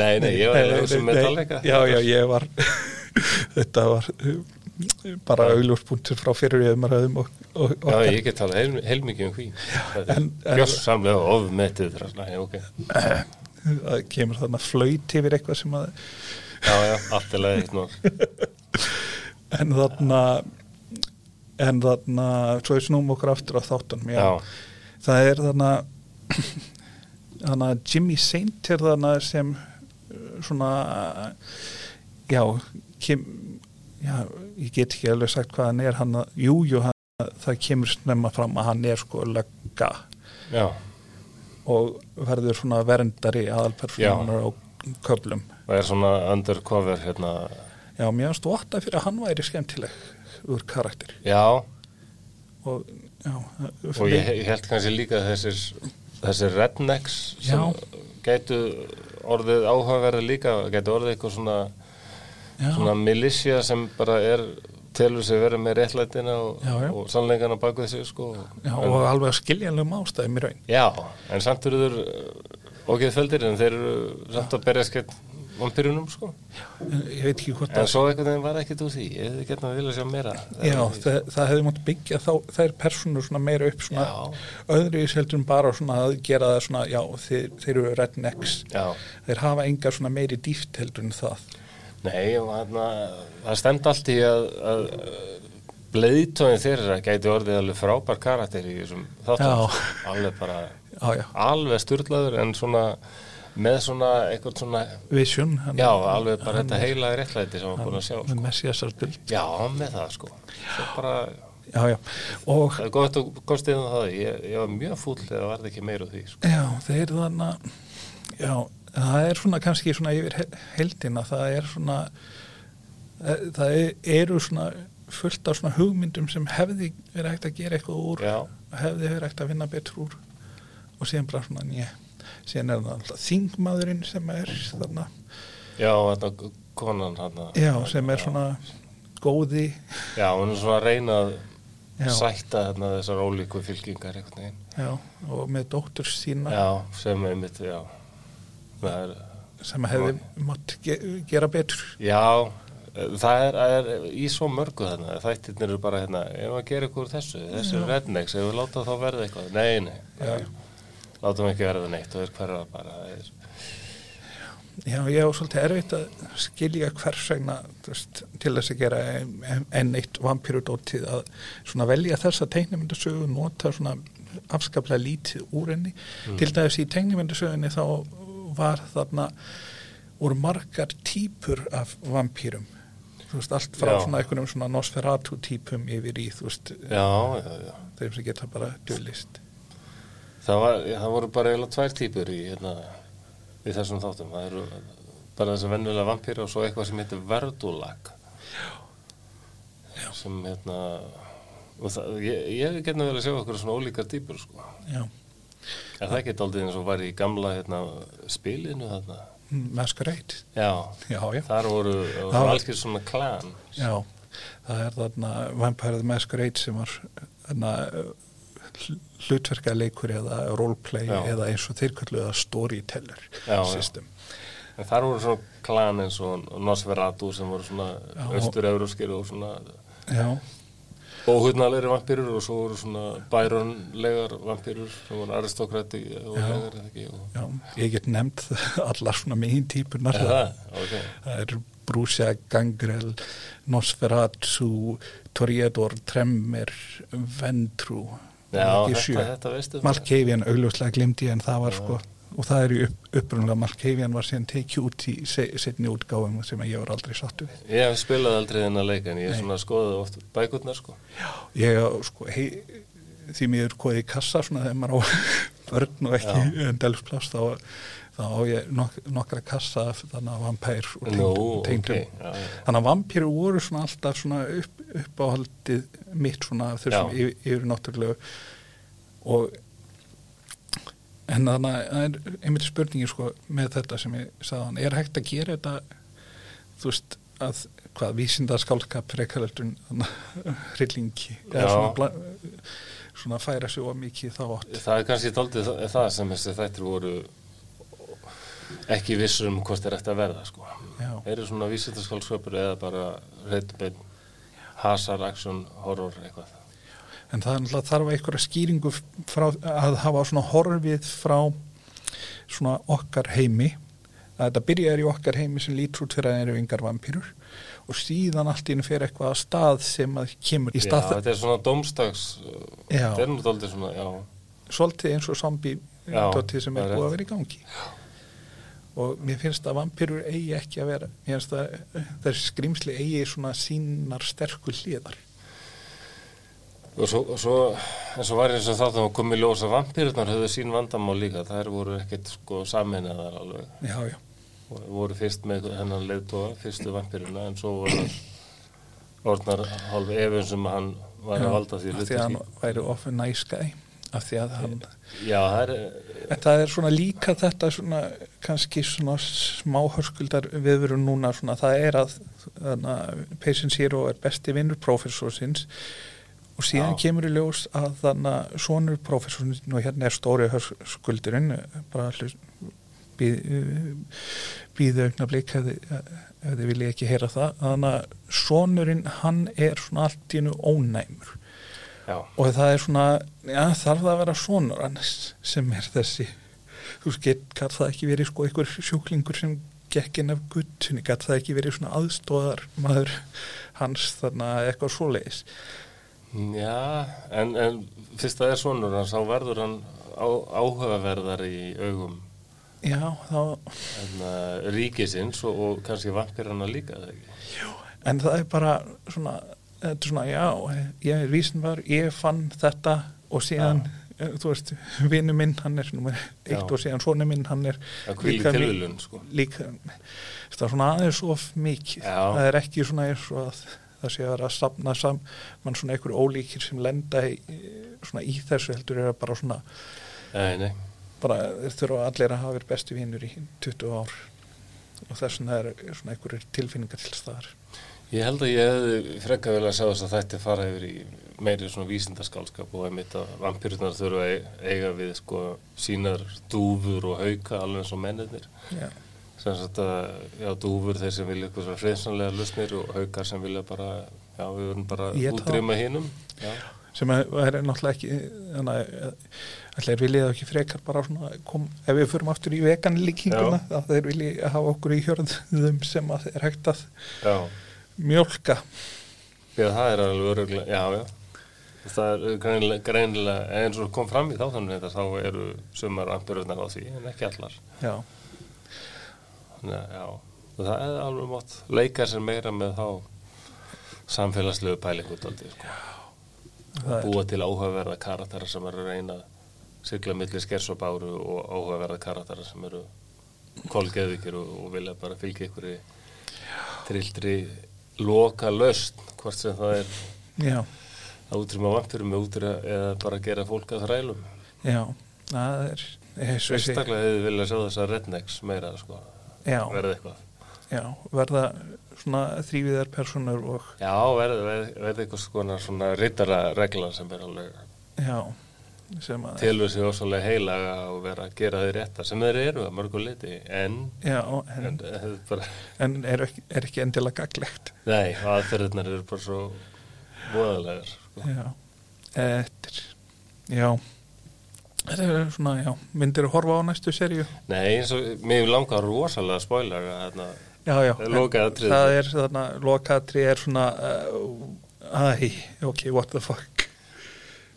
Nei, nei, ég var eða sem metallega
Já, já, ég var þetta var uh, bara augljóspunktur frá fyrir umræðum og, og, og
Já, ég get talað heil, heilmikið um Queen Þetta er
en- en-
Gjörsamlega ofmetið þar, Nei, ok
það kemur þarna flöyt yfir eitthvað sem að
Já, já, allt er leiðið nú
en þarna en þarna, svo ég snúm okkur aftur á þáttunum, já,
Já.
það er þarna þarna Jimmy Saint er þarna sem uh, svona já, kem, já ég get ekki alveg sagt hvað hann er hann, að- jú, jú, hann, það kemur snemma fram að hann er sko lögga
Já,
og verður svona verndari aðalperformanar á köflum
það er svona undercover hérna
já, mér finnst votta fyrir að hann væri skemmtileg úr karakter
Já,
og, já,
og ég, ég held kannski líka að þessir þessir rednecks sem
Já.
gætu orðið áhugaverði líka gætu orðið eitthvað svona,
já,
svona militia sem bara er telur sig verið með réttlætina og,
Já, já.
og sannleikana baku þessu sko.
já, og alveg skiljanlegum ástæðum í raun
já, en samt eru þeir okkið földir en þeir eru samt að berja skett vampirunum sko.
En ég veit ekki hvort
en
að
svo einhvern veginn var ekkert úr því ég hefði getna að vilja sjá meira
Já, það, það hefði mátt byggja þá, þær persónur svona meira upp svona
Já.
öðru í seldum bara svona að gera það svona, já, þeir, þeir eru rednecks
Já.
þeir hafa enga svona meiri dýft heldur en það
Nei, og þarna, það stend allt í að, að bleiðtóin þeirra gæti orðið alveg frábær karakter í þessum þáttum.
Já.
Alveg bara,
Já, já,
alveg styrlaður en svona, með svona, eitthvað svona,
Vision hann-
já, alveg bara þetta heila réttlæti sem við búin að sjá.
með
Sko.
Messiasarbild
Já, með það, sko. Svo bara,
Já, já, og
það er gott og gott eða það, ég, ég var mjög fúll eða varði ekki meira úr því, sko.
Já, þeir þannig að, já, það er svona kannski svona yfir he- heildina, það er svona, eh, það e- eru svona fullt af svona hugmyndum sem hefði verið hægt að gera eitthvað úr,
Já.
hefði verið hægt að vinna betur úr og síðan bara svona nýja. Síðan er það alltaf þingmaðurinn sem er þarna,
Já, þetta konan hann.
já, sem er svona góði,
Já, hún er svona að reyna að
Já.
sætta þarna þessar ólíku fylkingar einhvern veginn.
já, og með dóttur sína
Já, sem einmitt, já. Það er,
sem hefði mátt ge gera betur.
já, það er, það er í svo mörgu þarna. Þættirnir eru bara hérna, ef að gera ykkur úr þessu, þessu er rednex, ef við láta þá verða eitthvað. Nei, nei,
Já, já.
látum ekki verða neitt og er hverfa bara. það Er,
Já, ég á svolítið erfitt að skilja hvers vegna þú veist, til þess að gera en- enn eitt vampirudótið að svona velja þessa teiknimyndasögu nota svona afskaplega lítið úr henni.
Mm.
Til dæmis í teiknimyndasögunni þá var þarna úr margar típur af vampýrum. Þú veist, allt frá
Já.
svona einhvernum svona Nosferatu típum yfir í, þú veist,
já, já, já.
þeim sem geta bara dölist.
Það, var, það voru bara eiginlega tvær típur í, hérna, í þessum þáttum. Það eru bara þessi vennulega vampýra og svo eitthvað sem heitir verdulag. Já. Sem, hérna, og það, ég, ég hef getna vel að sjá okkur svona ólíkar típur, sko.
Já,
Er það ekki daldið eins og var í gamla hérna, spilinu þarna?
mm, masquerade.
Já,
Já, já.
þar voru það
var-
var alls getur svona klan.
Já, það er þarna Vampire the Masquerade sem var þarna eh, hlutverkaleikur eða roleplay
Já.
eða eins og þeir kalluðu það storyteller
Já, já.
system.
En þar voru svona klan eins og Nosferatu sem voru svona
Já.
austur-euróskir og svona
Já,
óhutnalegri vampýrur og svo voru svona bæronlegar vampýrur sem voru aristokrati og legar eða ekki. Og...
já, ég get nefnd allar svona megin típunar.
Er það? Ok.
það er Brúsja, Gangrel, Nosferatu, Toreador, Tremmer, Ventru,
Já,
ekki
þetta-
sjö.
þetta veistu.
Malkavian, augljóslega glimti en það var sko, og það er í upp, upprunlega, Malkavian var síðan tekið út í se, setni útgáfum sem ég var aldrei sattu við.
Ég hef spilað aldrei þennan leik en ég svona skoðið oft bækurnar sko.
Ég á, sko, hei, því mér er koðið í kassa svona þegar maður á börn og ekki endelsplast þá, þá á ég nok nokkra kassa af þannig að vampær og
Nú,
tengdum- tengdum.
ok, já, já.
þannig að vampýru voru svona alltaf svona upp, uppáhaldið mitt svona af þessum
Já.
yfir, yfir náttúrulega og en þannig að það er einmitt spurningin sko með þetta sem ég sagði hann er hægt að gera þetta þú veist að hvað vísinda skálskap frekaröldun hryllingi eða
Já.
svona, bla, svona færa sig of mikið í þá átt
Það er kannski daldið þa- það sem þessi þættir voru ekki vissur um hvort þeir ætti að verða sko.
Já.
Eru svona vísindaskálsköpur eða bara reynd beinn hasar, action, horror, eitthvað.
en það er náttúrulega þarf einhverja skýringu frá, að hafa svona horfið frá svona okkar heimi að þetta byrjar í okkar heimi sem lítur út fyrir að það eru yngar vampýrur og síðan allt í henni fyrir eitthvað að stað sem að kemur í
Já,
stað
þetta er svona domstags,
Já.
þetta er nú daldið svona, já,
svolítið eins og zombie
Já,
dotið sem
það
er
er
búið að
rétt.
vera í gangi og mér finnst að vampirur eigi ekki að vera mér finnst að þessi skrimsli eigi svona sínar sterku hliðar
Og svo, og svo, en svo var ég eins og þáttum að komið ljós að vampýrurnar höfðu sín vandamál líka, þær voru ekkert sko saminnaðar alveg.
já, já,
Og Voru fyrst með hennan leiðtóa, fyrstu vampýruna, en svo voru orðnar hálf efum sem hann var að valda því
af því að hann
hlutverki.
væri of a nice guy af því að hann
Já, það er,
en það er svona líka þetta svona kannski svona smáhörskuldar við verum núna svona það er að þarna, Patient Zero er besti vinnur professorsins og síðan
Já.
kemur í ljós að þannig sonur professorsins og hérna er stóri hörskuldurinn bara hlust býðu augna blik ef þið- ef þið vilja ekki heyra það þannig að sonurinn hann er svona allt í hennu ónæmur
já,
og það er svona, já þarf það að vera sonur annars sem er þessi þú veist, get- gat það ekki verið sko einhver sjúklingur sem gekk inn af guttunni, gat það ekki verið svona aðstóðar maður hans þarna eitthvað svoleiðis
já, en, en fyrst það er svonur, hann sá verður hann á, áhugaverðar í augum
já, þá,
en, uh, ríkisins og, og kannski vampýruna líka, eða ekki?
en það er bara svona, þetta er svona já, ég er vísin var, ég fann þetta og síðan eh, þú veist, vinnu minn hann er nummer eitt
Já.
og síðan svona minn hann er
Að hvíli
líka mi-
tilviljun, sko.
líka, það er svona aðeins of mikið,
Já.
það er ekki svona eins og að það sé að vera að safna saman svona einhver ólíkir sem lenda í, svona í þessu heldur er að bara svona,
Nei, nei.
bara þeir þurfa allir að hafa verið bestu vinnur í 20 ár og þess vegna er svona einhverjir tilfinningar til staðar.
Ég held að ég hefði frekka vel að sjá þess að þetta fara yfir í meiri svona vísindaskálskap og einmitt að vampýrurnar þurfa að eiga við sko sínar dúfur og hauka alveg eins og mennirnir.
Já.
Sem sagt að, já, dúfur þeir sem vilja eitthvað svona friðsanlega lusnir og haukar sem vilja bara, já, við verðum bara
Éta.
útrýma hinnum. Já,
sem að- er náttúrulega ekki þannig að allir viljið þá ekki frekar bara svona kom, ef við förum aftur í veganlíkinguna þá þeir viljið hafa okkur í hjörðum sem að er hægt að
já.
mjólka
Já, það er alveg öruglega, já, já. Það er greinilega, greinilega, eins og kom fram í þáttunum þetta, þá eru sumar vampýrurnar á því, en ekki allar.
Já,
Þannig að, já, og það er alveg mótt leika sér meira með þá samfélagslegu pælingu daldi, sko.
það er,
búa til áhugaverða karatara sem eru að reyna að sigla milli skers og báru og áhugaverða karatara sem eru kolgeðvíkir og, og vilja bara fylgja ykkur í trilltri loka löst hvort sem það er
já,
að útrýma vampirum eða útrýma- eða bara gera fólk að þrælum
já, það er eins og ég segi,
Sérstaklega hefði viljað sjá þess að rednecks meira sko,
já,
verði eitthvað
já, verða svona þrýviðar personur og
Já, verði, verði, verði eitthvað svona, svona rittara regla sem er alveg
já, sem að
telur sig ósvalega heilaga og vera að gera þau rétta sem þeir eru að mörgu liti en,
já,
en,
en,
en bara,
en er, ekki, er ekki endilega gaglegt
nei, aðferðirnar eru bara svo voðalegar sko.
já, eftir já þetta er svona, já, myndir að horfa á næstu serju
Nei, eins og mér langar rosalega að hérna, spoiler að þarna
já, já,
Það er lokaatriði.
en það er þarna, lokaatrið er svona uh, æ, ok, what the fuck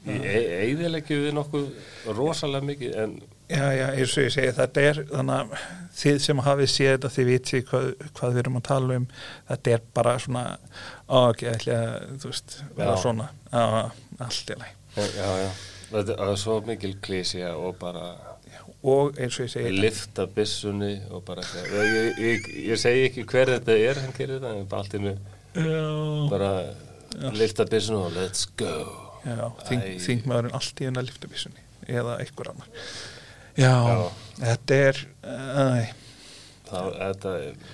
eigðilegju við nokkuð rosalega mikið en
Já, já, eins og ég segi, þetta er þannig að þið sem hafið séð þetta þið vitið hvað, hvað við erum að tala um þetta er bara svona á, ok, ég ætla að, þú veist, vera
Já.
svona á, allt í lagi
já, já, Þetta það er svo mikil klísja og bara
og eins og ég segi
lifta byssunni og bara eitthvað. ég, ég, ég, ég segi ekki hver þetta er hann gerir þetta, en bara allt innu
já,
bara lifta byssunni og let's go
já,
Æ.
þing, þingmaðurinn allt í hennar liftubísunni eða einhver annar já, þetta er æ,
þá þetta er-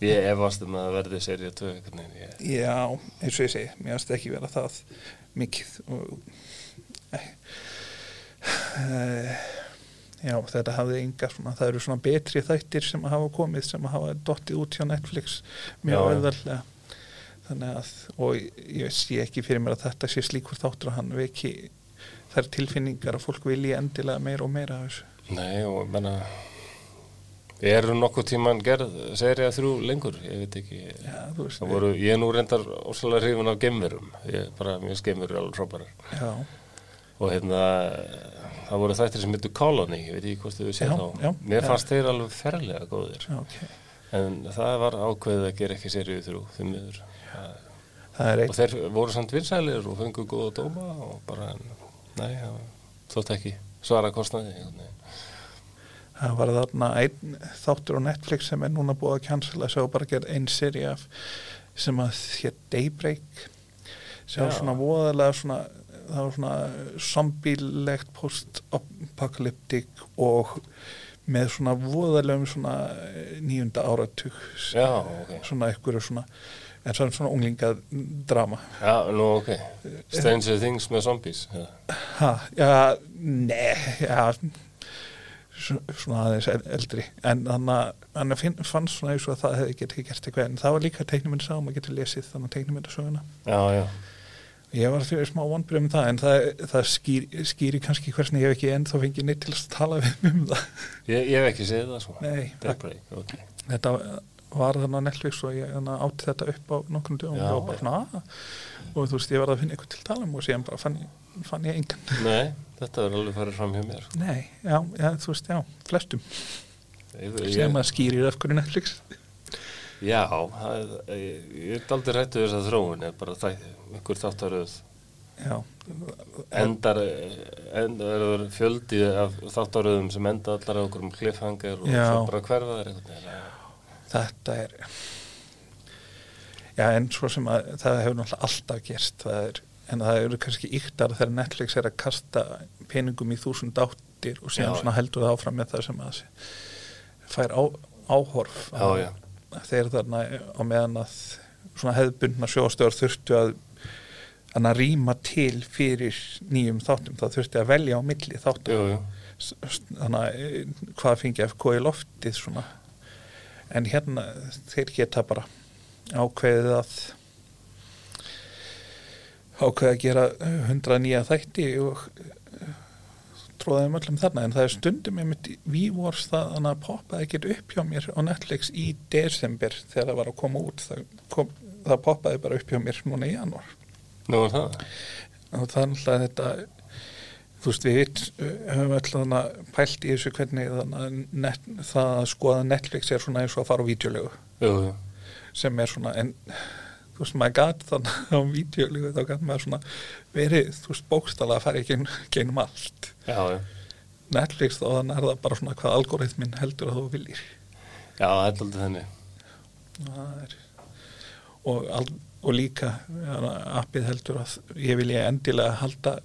ég efast um að það verði serið 2 einhvern veginn ég
já, eins og ég segi mér finnst ekki vera það mikið og æ, æ, Eh, já, þetta hafði enga svona, það eru svona betri þættir sem að hafa komið sem að hafa dottið út hjá Netflix
Já,
mjög
já.
auðvöldlega þannig að, og ég- ég sé ekki fyrir mér að þetta sé slíkur þáttur að hann veki þær tilfinningar að fólk vilji endilega meira og meira af þessu
Nei, og ég menna eru nokkuð tíman gerð serið þrjú lengur, ég veit ekki
Já, þú veist,
það voru, ég er nú reyndar óslega hrifun af gemverum, ég bara mjög skemmur alveg frábærar
já,
og hérna það voru þættir sem heitu Colony, ég veit ekki hvort þau séð
Já,
þá
já,
mér
já.
fannst þeir alveg ferlega góðir
já, ok.
en það var ákveðið að gera ekki serið þrjú, þeim miður Það-
Það er
og
eitt,
þeir voru samt vinsælir og fengu góða dóma og bara, en, nei, það þótt ekki svara kostnaði einhvern veginn.
það var þarna einn þáttur á Netflix sem er núna búið að cancela svo bara gerð einn seri af sem að hér Daybreak sem var
Já.
svona voðalega svona það var svona zombilegt post-apokalyptik og með svona voðalegum svona nýjunda áratug
já, ok
svona einhverju svona en svona, svona unglingadrama
Já, nú ok. Stranger Things með zombies. Já,
ha, já, ne já, s- svona aðeins el- eldri en þannig að hann finn- fannst svona eins og að það hefði getið gert eitthvað en það var líka teiknumynda sá, maður getur lesið þannig teiknumynda söguna
já. já.
ég var fyrir smá vonbrið um það en það, það skýr, skýri kannski hversni ég hef ekki ennþá fengið neitt til að tala við mig um það
Ég, ég hef ekki séð það svo.
Nei, takk.
Daybreak, ok.
þetta var þannig á Netflix og ég þannig átti þetta upp á nokkrum dögum
Já.
og bara svona "Ah." og þú veist ég var að finna eitthvað til að tala um og síðan bara fann, ég- fann ég engan
Nei, þetta er alveg farið fram hjá mér. sko.
nei, já, já, þú veist, já, flestum
Ég,
sem
ég,
að skýrir af hverju Netflix
já, það, er- ég, ég er aldrei rættu þess að þróun, ég bara það, ykkur þáttaröð.
já,
Endar, endar fjöldi af þáttaröðum sem enda allar á okkur um cliffhanger og
Já.
svo bara hverfa þær einhvern veginn.
þetta er já en svo sem að það hefur náttúrulega alltaf gerst það er, en það eru kannski yktar þegar Netflix er að kasta peningum í þúsund áttir og síðan
Já,
svona heldur það áfram með það sem að fær á, áhorf
Já, já.
þeir þarna á meðan að svona hefðbundna sjóðstöðar þurftu að að rýma til fyrir nýjum þáttum, það þurfti að velja á milli þáttum
Jú, jú.
s- s- þannig að eh, hvað fengi FK í loftið svona en hérna þeir geta bara ákveðið að ákveðið að gera hundra nýja þætti og eh, tróða þeim öllum þarna en það er stundum ég mitt vívors það þannig að poppaði ekkert upp hjá mér á Netflix í desember þegar það var að koma út það, kom, það poppaði bara upp hjá mér núna í janúar
Nú er það.
og það er náttúrulega þetta þú veist við vit, höfum öll þarna pælt í þessu hvernig þarna net, það að skoða Netflix er svona eins og að fara á vídeolegu
Jú, jú.
sem er svona en þú veist maður gat þannig á vídeolegu þá gat maður svona verið þú veist bókstala að fara í gegnum, gegnum allt
Já, já.
Netflix þá þannig er það bara svona hvað algoritminn heldur að þú viljir
Já, þetta er aldrei þenni.
Það er, og, al, og líka ja, appið heldur að ég vil ég endilega halda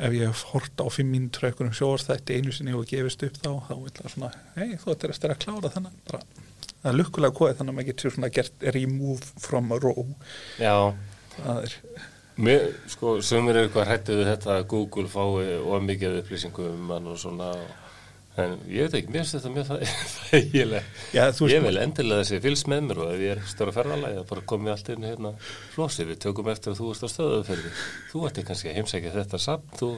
ef ég hef hort á fimm mínútur á einhverjum sjóarstætti einu sinni og gefist upp þá þá vil það svona, hei þú ættir eftir að klára þannig bara, það er lukkulega kóðið þannig að maður getur svona gert remove from row
Já.
það er,
Mér, sko, sumir eru eitthvað hrættu við þetta að Google fái of mikið af upplýsingum um mann og svona en ég veit ekki, mér finnst þetta mjög þæ- þægilegt
Já, þú veist-
ég vil endilega þessi fylgst með mér og ef ég er ekki stóra ferðalagi bara komið allt inn hérna flósi, við tökum eftir að þú ert á stöðuferði þú ætti kannski að heimsækja þetta samt þú,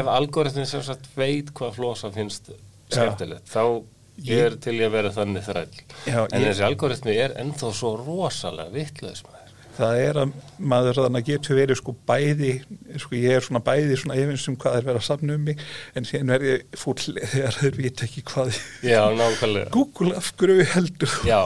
ef algoritmin sem sagt veit hvað flósa finnst skemmtilegt þá ég er til ég að vera þannig þræll
Já,
en
ég-
þessi algoritmi er ennþá svo rosalega vittlaðis maður
það er að maður þannig getur verið sko bæði sko ég er svona bæði svona efins um hvað er verið að safna um mig en síðan verð ég fúll þegar þeir vita ekki hvað
já, nákvæmlega
Google af hverju heldur
Já,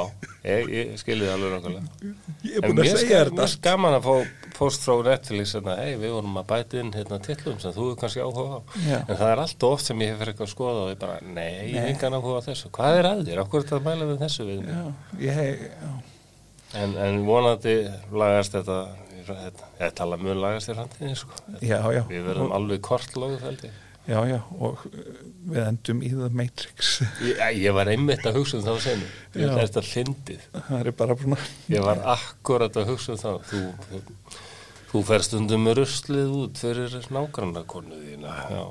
ég, ég skilði það alveg nákvæmlega.
ég er
En
búin að
mér
segja
skam-
þér
mér
þetta
er gaman að fá, fá fórst frá Netflix að hey, við vorum að bæta inn hérna tillum sem þú er kannski áhuga á
Já.
en það er alltaf oft sem ég hef fyrir eitthvað að skoða og ég bara, nei, ég hef
Nei.
engan áhuga á þessu hvað er að þér, okkur er þetta að mæla við þessu við
Já, ég, já.
en, en vonandi lagast þetta í fra- þetta- ég tala mjög lagast í framtíðin sko.
Já, já.
við verðum alveg kortlóðu held ég
já, já, og uh, við endum í The Matrix.
Ég, ég var einmitt að hugsa um þá senu
Já.
ég þetta fyndið
það er bara bruna.
ég var akkurat að hugsa um það þú, þú fer stundum með ruslið út fyrir nágrannakonu þína já.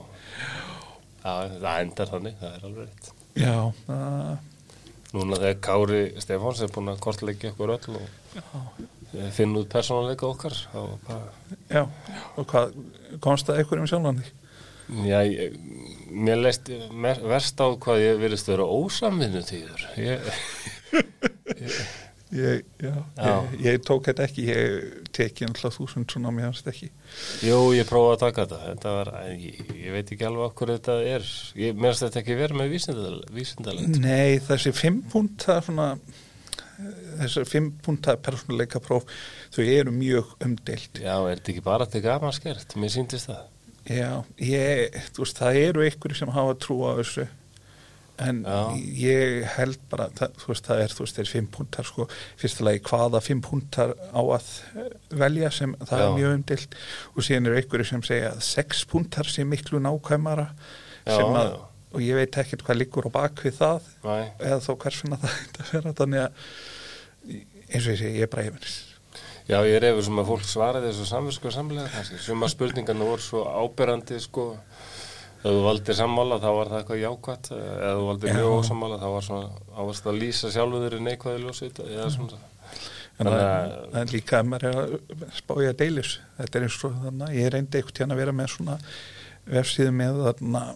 já það endar þannig, það er alveg rétt
Já, það,
núna þegar Kári Stefáns er búin að kortleggja okkur öll og finna út persónuleika okkar þá bara
já, og hvað, komst það einhverjum sjálfan þig?
Já, ég, mér leist mer, verst á hvað ég virðist vera ósamvinnu tíður. Ég,
Ég, já,
Já.
Ég, ég tók þetta ekki, ég teki alltaf þúsund svona mér hans ekki.
jú, ég prófaði að taka þetta. þetta var, en ég, ég veit ekki alveg okkur þetta er. Ég, mér finnst þetta ekki verið með vísindal- vísindalegt.
Nei, þessi fimm púnta svona, eh, þessi fimm púnta persónuleika próf, þau eru mjög umdelt.
Já, er þetta ekki bara til gaman skert? Mér síndist það.
Já, ég, þú veist, það eru einhverjir sem hafa trú á þessu, en
Já.
ég held bara, það, þú veist, það er, þú veist, þeir fimm púntar, sko, fyrstulega hvaða fimm púntar á að eh, velja sem það
Já.
er mjög umdelt og síðan eru einhverjir sem segja að sex púntar sé miklu nákvæmara
Já,
sem að,
já.
og ég veit ekkert hvað liggur á bakvið það
Næ.
eða þó hvers vegna það þetta vera þannig að eins og ég segi, ég er bara yfirins
Já, ég er efur sem að fólk svaraði þessu samvisku samlega kannski. Suma spurningarna voru svo áberandi, sko. Ef þú valdir sammála, þá var það eitthvað jákvætt. Eh, Ef þú valdir
Já.
mjög ósammála, þá var svona, þá varst að lýsa sjálfuður í neikvæði ljósið. Eða svona.
en
Þannig
það
að-
það er líka að maður er að spá ég að deilis þetta er eins og þannig að ég reyndi einhvern tíðan að vera með svona vefsíðu með þarna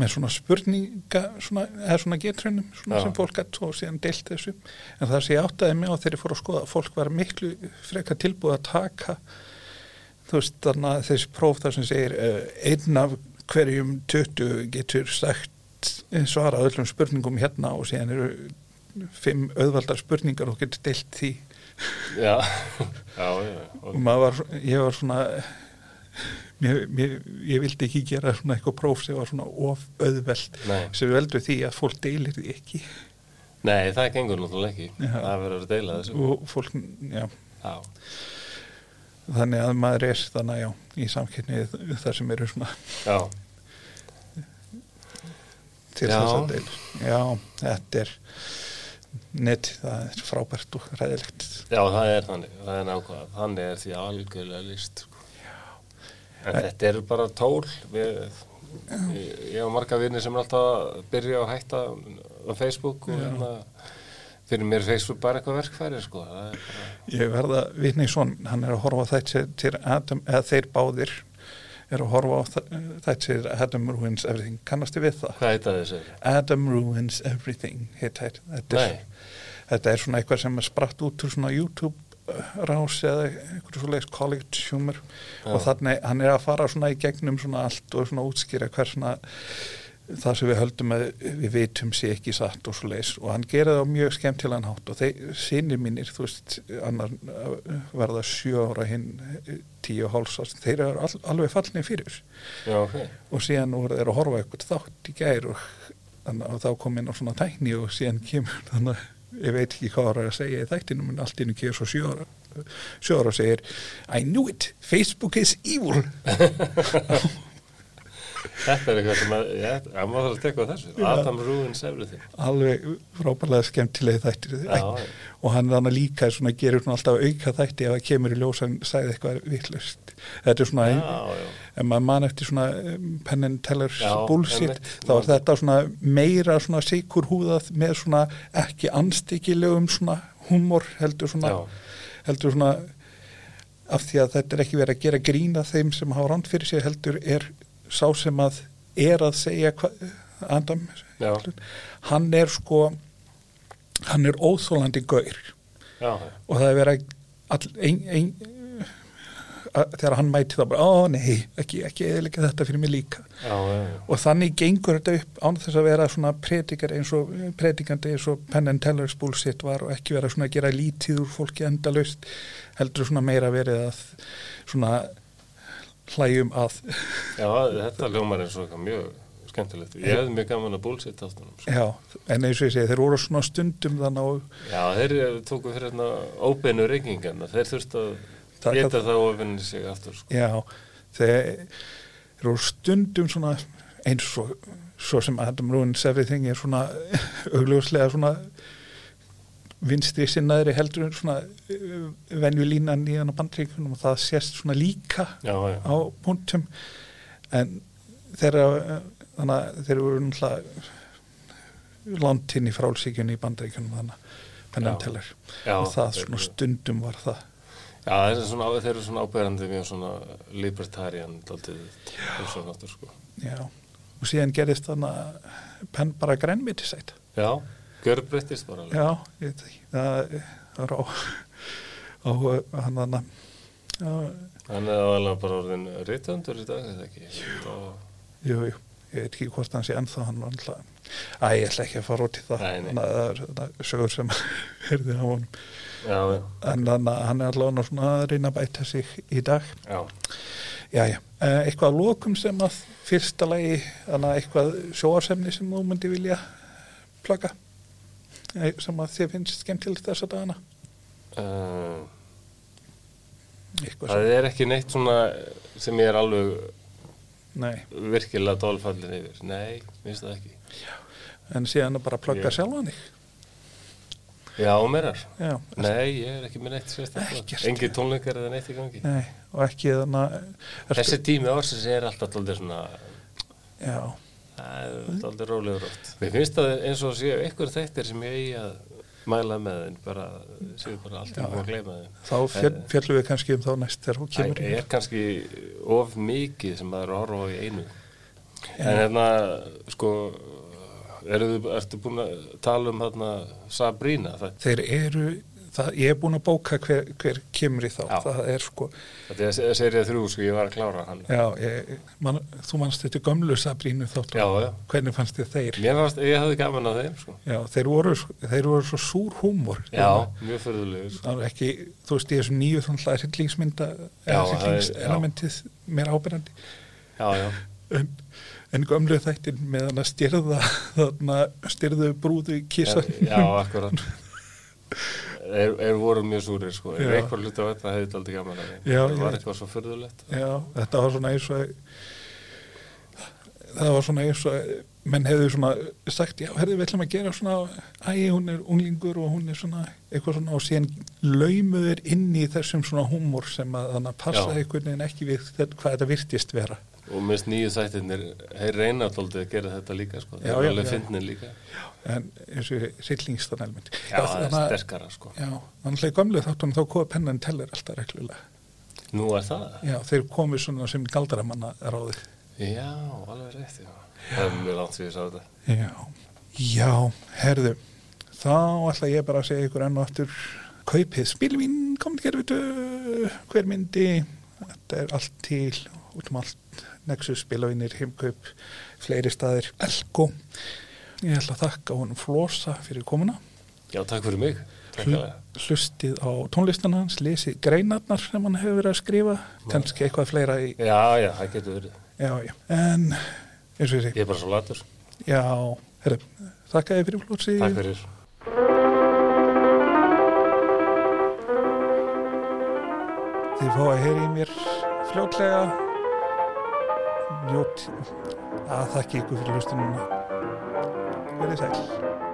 með svona spurninga svona, eða svona getrunum svona
Já.
sem fólk gætt og síðan deilt þessu en það sem ég áttaði mig á þegar ég fór að skoða að fólk var miklu freka tilbúið að taka þú veist þarna þessi próf þar sem segir uh, einn af hverjum 20 getur sagt svara öllum spurningum hérna og síðan eru fimm auðvaldar spurningar og getur deilt því
Já, já, já.
og
Og,
maður var, ég var svona mér, mér, ég vildi ekki gera svona eitthvað próf sem var svona of auðveld
Nei.
sem veldur því að fólk deilir því ekki
nei, það gengur náttúrulega ekki.
Já.
Það verður að deila þessu.
og fólk, já
Já,
þannig að maður er þannig, já, í samkynni þar sem eru svona
já.
til
Já.
þess að deilur já, þetta er nett, það er frábært og ræðilegt
já það er þannig. Það er nákvæða. Þannig er því algjörlega líst. Sko. En þetta eru bara tól. Við, ég, ég og marga vinni sem er alltaf að byrja að hætta á Facebook og hérna fyrir mér er Facebook bara eitthvað verkfæri sko. Það er bara,
Ég verða vitni í son, hann er að horfa á þætti til Adam, eða þeir báðir er að horfa á þæ- þætti til Adam Ruins Everything, kannastu við það?
hvað heita þessu?
Adam Ruins Everything heit, heit. Þetta,
Nei.
er, þetta er svona eitthvað sem er spratt út úr svona YouTube uh, rás eða einhverju svoleiðis college humor og þannig hann er að fara svona í gegnum svona allt og svona útskýra hver svona það sem við höldum að við vitum sé ekki satt og svoleiðis og hann gera það á mjög skemmtilegan hátt og þeir sinni mínir, þú veist, annar uh, verða sjö ára hinn uh, tíu hálsast, þeir eru all, alveg fallinni fyrir þessu
Já, ok.
og síðan voru þeir að horfa eitthvað þátt í gær og, þannig að þá kom inn á svona tækni og síðan kemur þannig að ég veit ekki hvað var að segja í þættinum en allt innu kemur svo sjö ára sjö ára og segir I knew it, Facebook is evil
Þetta er eitthvað sem að, ég, að maður þarf að tekka á þessu. Adam ruins everything.
alveg frábælega skemmtilegi þættir
Já.
og hann þannig líka svona gerir svona alltaf auka þætti ef það kemur í ljós hann sagði eitthvað vittlust þetta er svona
Já, já.
ef maður man eftir svona um, penn and tellers
Já,
bullshit
einmitt.
þá er þetta svona meira svona sikur húðað með svona ekki anstíkilegum svona humor heldur svona,
Já.
heldur svona af því að þetta er ekki verið að gera grína þeim sem hafa ránd fyrir sér heldur er sá sem að er að segja hvað Adam,
Já.
hann er sko hann er óþólandi gaur
Já, já.
og það er verið að all, ein, ein, að, þegar hann mæti þá bara, ó nei, ekki, ekki eðilega þetta fyrir mig líka
já, já, já.
og þannig gengur þetta upp án þess að vera svona predikar eins og predikandi eins og Penn and Teller's bullshit var og ekki vera svona að gera lítið úr fólki endalaust heldur svona meira verið að svona hlæjum að
Já, þetta ljómar eins og eitthvað mjög skemmtilegt. Ég hefði mjög gaman að búlsitt áttunum. Sko.
já, en eins og ég segi þeir voru svona stundum þannig og
Já, þeir eh, tóku fyrir hérna óbeinu reykingarna. Þeir þurftu
Taka-
að geta það ofinni sig aftur. Sko.
Já, þeir eru stundum svona eins og svo sem Adam Ruins Everything er svona augljóslega svona vinstri sinnaðri heldur en svona venjulínan í hann á bandreikunum og það sést svona líka
Já, já.
á punktum en þeirra þannig að þeir eru náttúrulega langt inn í frálsíkjunni í bandreikunum þannig að
Já.
pennanteller
Já,
og það
þeir
svona
eru-
stundum var það
Já, þeir eru svona, þeir eru svona áberandi mjög svona libertarian, daldið, eins og aftur, sko.
Já, og síðan gerist þannig að penn bara grænmitisætt.
Já, görbreyttist bara alveg.
Já, ég veit ekki, það það er á, á hann þannig að,
Hann er alveg bara orðin reytöndur í dag, eða ekki? Og,
jú, jú, ég veit ekki hvort hann sé ennþá hann var alltaf, æ, ég ætla ekki að fara út í það,
Nei, nei.
Þannig að það er þetta sögur sem herði á honum,
já, já,
en þannig að hann er allavega svona að reyna að bæta sig í dag.
já.
Já, já, eitthvað að lokum sem að fyrsta lagi, þannig að eitthvað sjóarsemni sem þú myndi vilja plaka, Eh, sem að þið finnst skemmtilegt þessa dagana.
Uh,
eitthvað
það er ekki neitt svona sem ég er alveg
sem, nei,
virkilega dólfallin yfir. Nei, minnst það ekki.
en síðan að bara plugga
Ég-
sjálfan þig
Já, meirar.
já,
Nei, ég er ekki með neitt sérstaklega.
Ekkert.
Engi tónleikar eða neitt í gangi.
nei, og ekki þannig að
Þessi tími ársins er alltaf aldrei svona,
já,
það er aldrei rólegur oft. Mér finnst það eins og séu einhver þættir sem ég eigi að mæla með þeim, bara, séu bara alltaf búin að gleyma þeim.
þá fjöll, fjöllum við kannski um þá næst þegar hún
Eh. Það
kemur
er kannski of mikið sem maður er að horfa á í einu. En hérna, sko, eruðu, ertu búin að tala um þarna Sabrina, það,
þeir eru það, ég er búin að bóka hver, hver kemur í þá
Já.
það er sko,
þetta er serið þrjú, sko, ég var að klára hann.
já ég, man, þú manst þetta gömlu Sabrínu þátt
Já, já.
hvernig fannst þið þeir
Mér fannst, ég hafði gaman að þeim, sko.
já, þeir, voru, svo- þeir voru svo súr húmor
Já, mjög sko. fyrirlegur.
það var ekki, þú veist, í þessum nýju þannig að hryllingsmynda eða
það er-
hryllingselementið meira ábyrrandi
Já, já.
en, en gömlu þættin með hann að styrða þarna styrðu brúðu í kissan
Já, akkurat. Er, er voru mjög súrir, sko. Ef
Já.
eitthvað hluta á þetta hefði þetta aldrei gaman að þeim.
Já,
það
ég
var
veit.
eitthvað svo fyrirlegt.
Já, þetta var svona eins og það var svona eins og menn hefðu svona sagt já, herði, við ætlum að gera svona æ, hún er unglingur og hún er svona eitthvað svona og síðan laumuður inn í þessum svona húmor sem að þannig að passa
Já.
einhvern veginn ekki við þetta, hvað þetta virtist vera
Og minnst nýju þættirnir, þeir reyna alltaf að gera þetta líka, sko.
Já,
Þeir eru
já,
alveg
já.
fyndnir líka.
en eins og hryllingstan elmend
Já, það er sterkara, sko.
Já, þannig að gömlu þáttunum þá kofa pennan teller alltaf reglulega
Nú er það.
Já, þeir komu svona sem galdramanna ráði.
Já, alveg rétt, já. Það er mjög langt sér sá þetta.
Já. Já, herðu, þá ætla ég bara að segja ykkur enn og aftur kaupið spilvín, komið gerfitu, hver myndi, þetta er allt til, út um allt, Nexus spilavinir, heimkaup, fleiri staðir, Elko. Ég ætla að þakka honum Flosa fyrir komuna.
Já, takk fyrir mig. Takk
Hl-
alveg.
Hlustið á tónlistan hans, lesið greinarnar sem hann hefur verið að skrifa, kannski eitthvað fleira í,
Já, já, það getur verið.
já, já, en eins og ég segi,
Ég er bara svo latur.
Já, herru, þakka þér fyrir flótsi.
Takk fyrir.
Þið fá að heyri mér fljótlega. Njótt að þakki ykkur fyrir hlustunum. Verið sæl.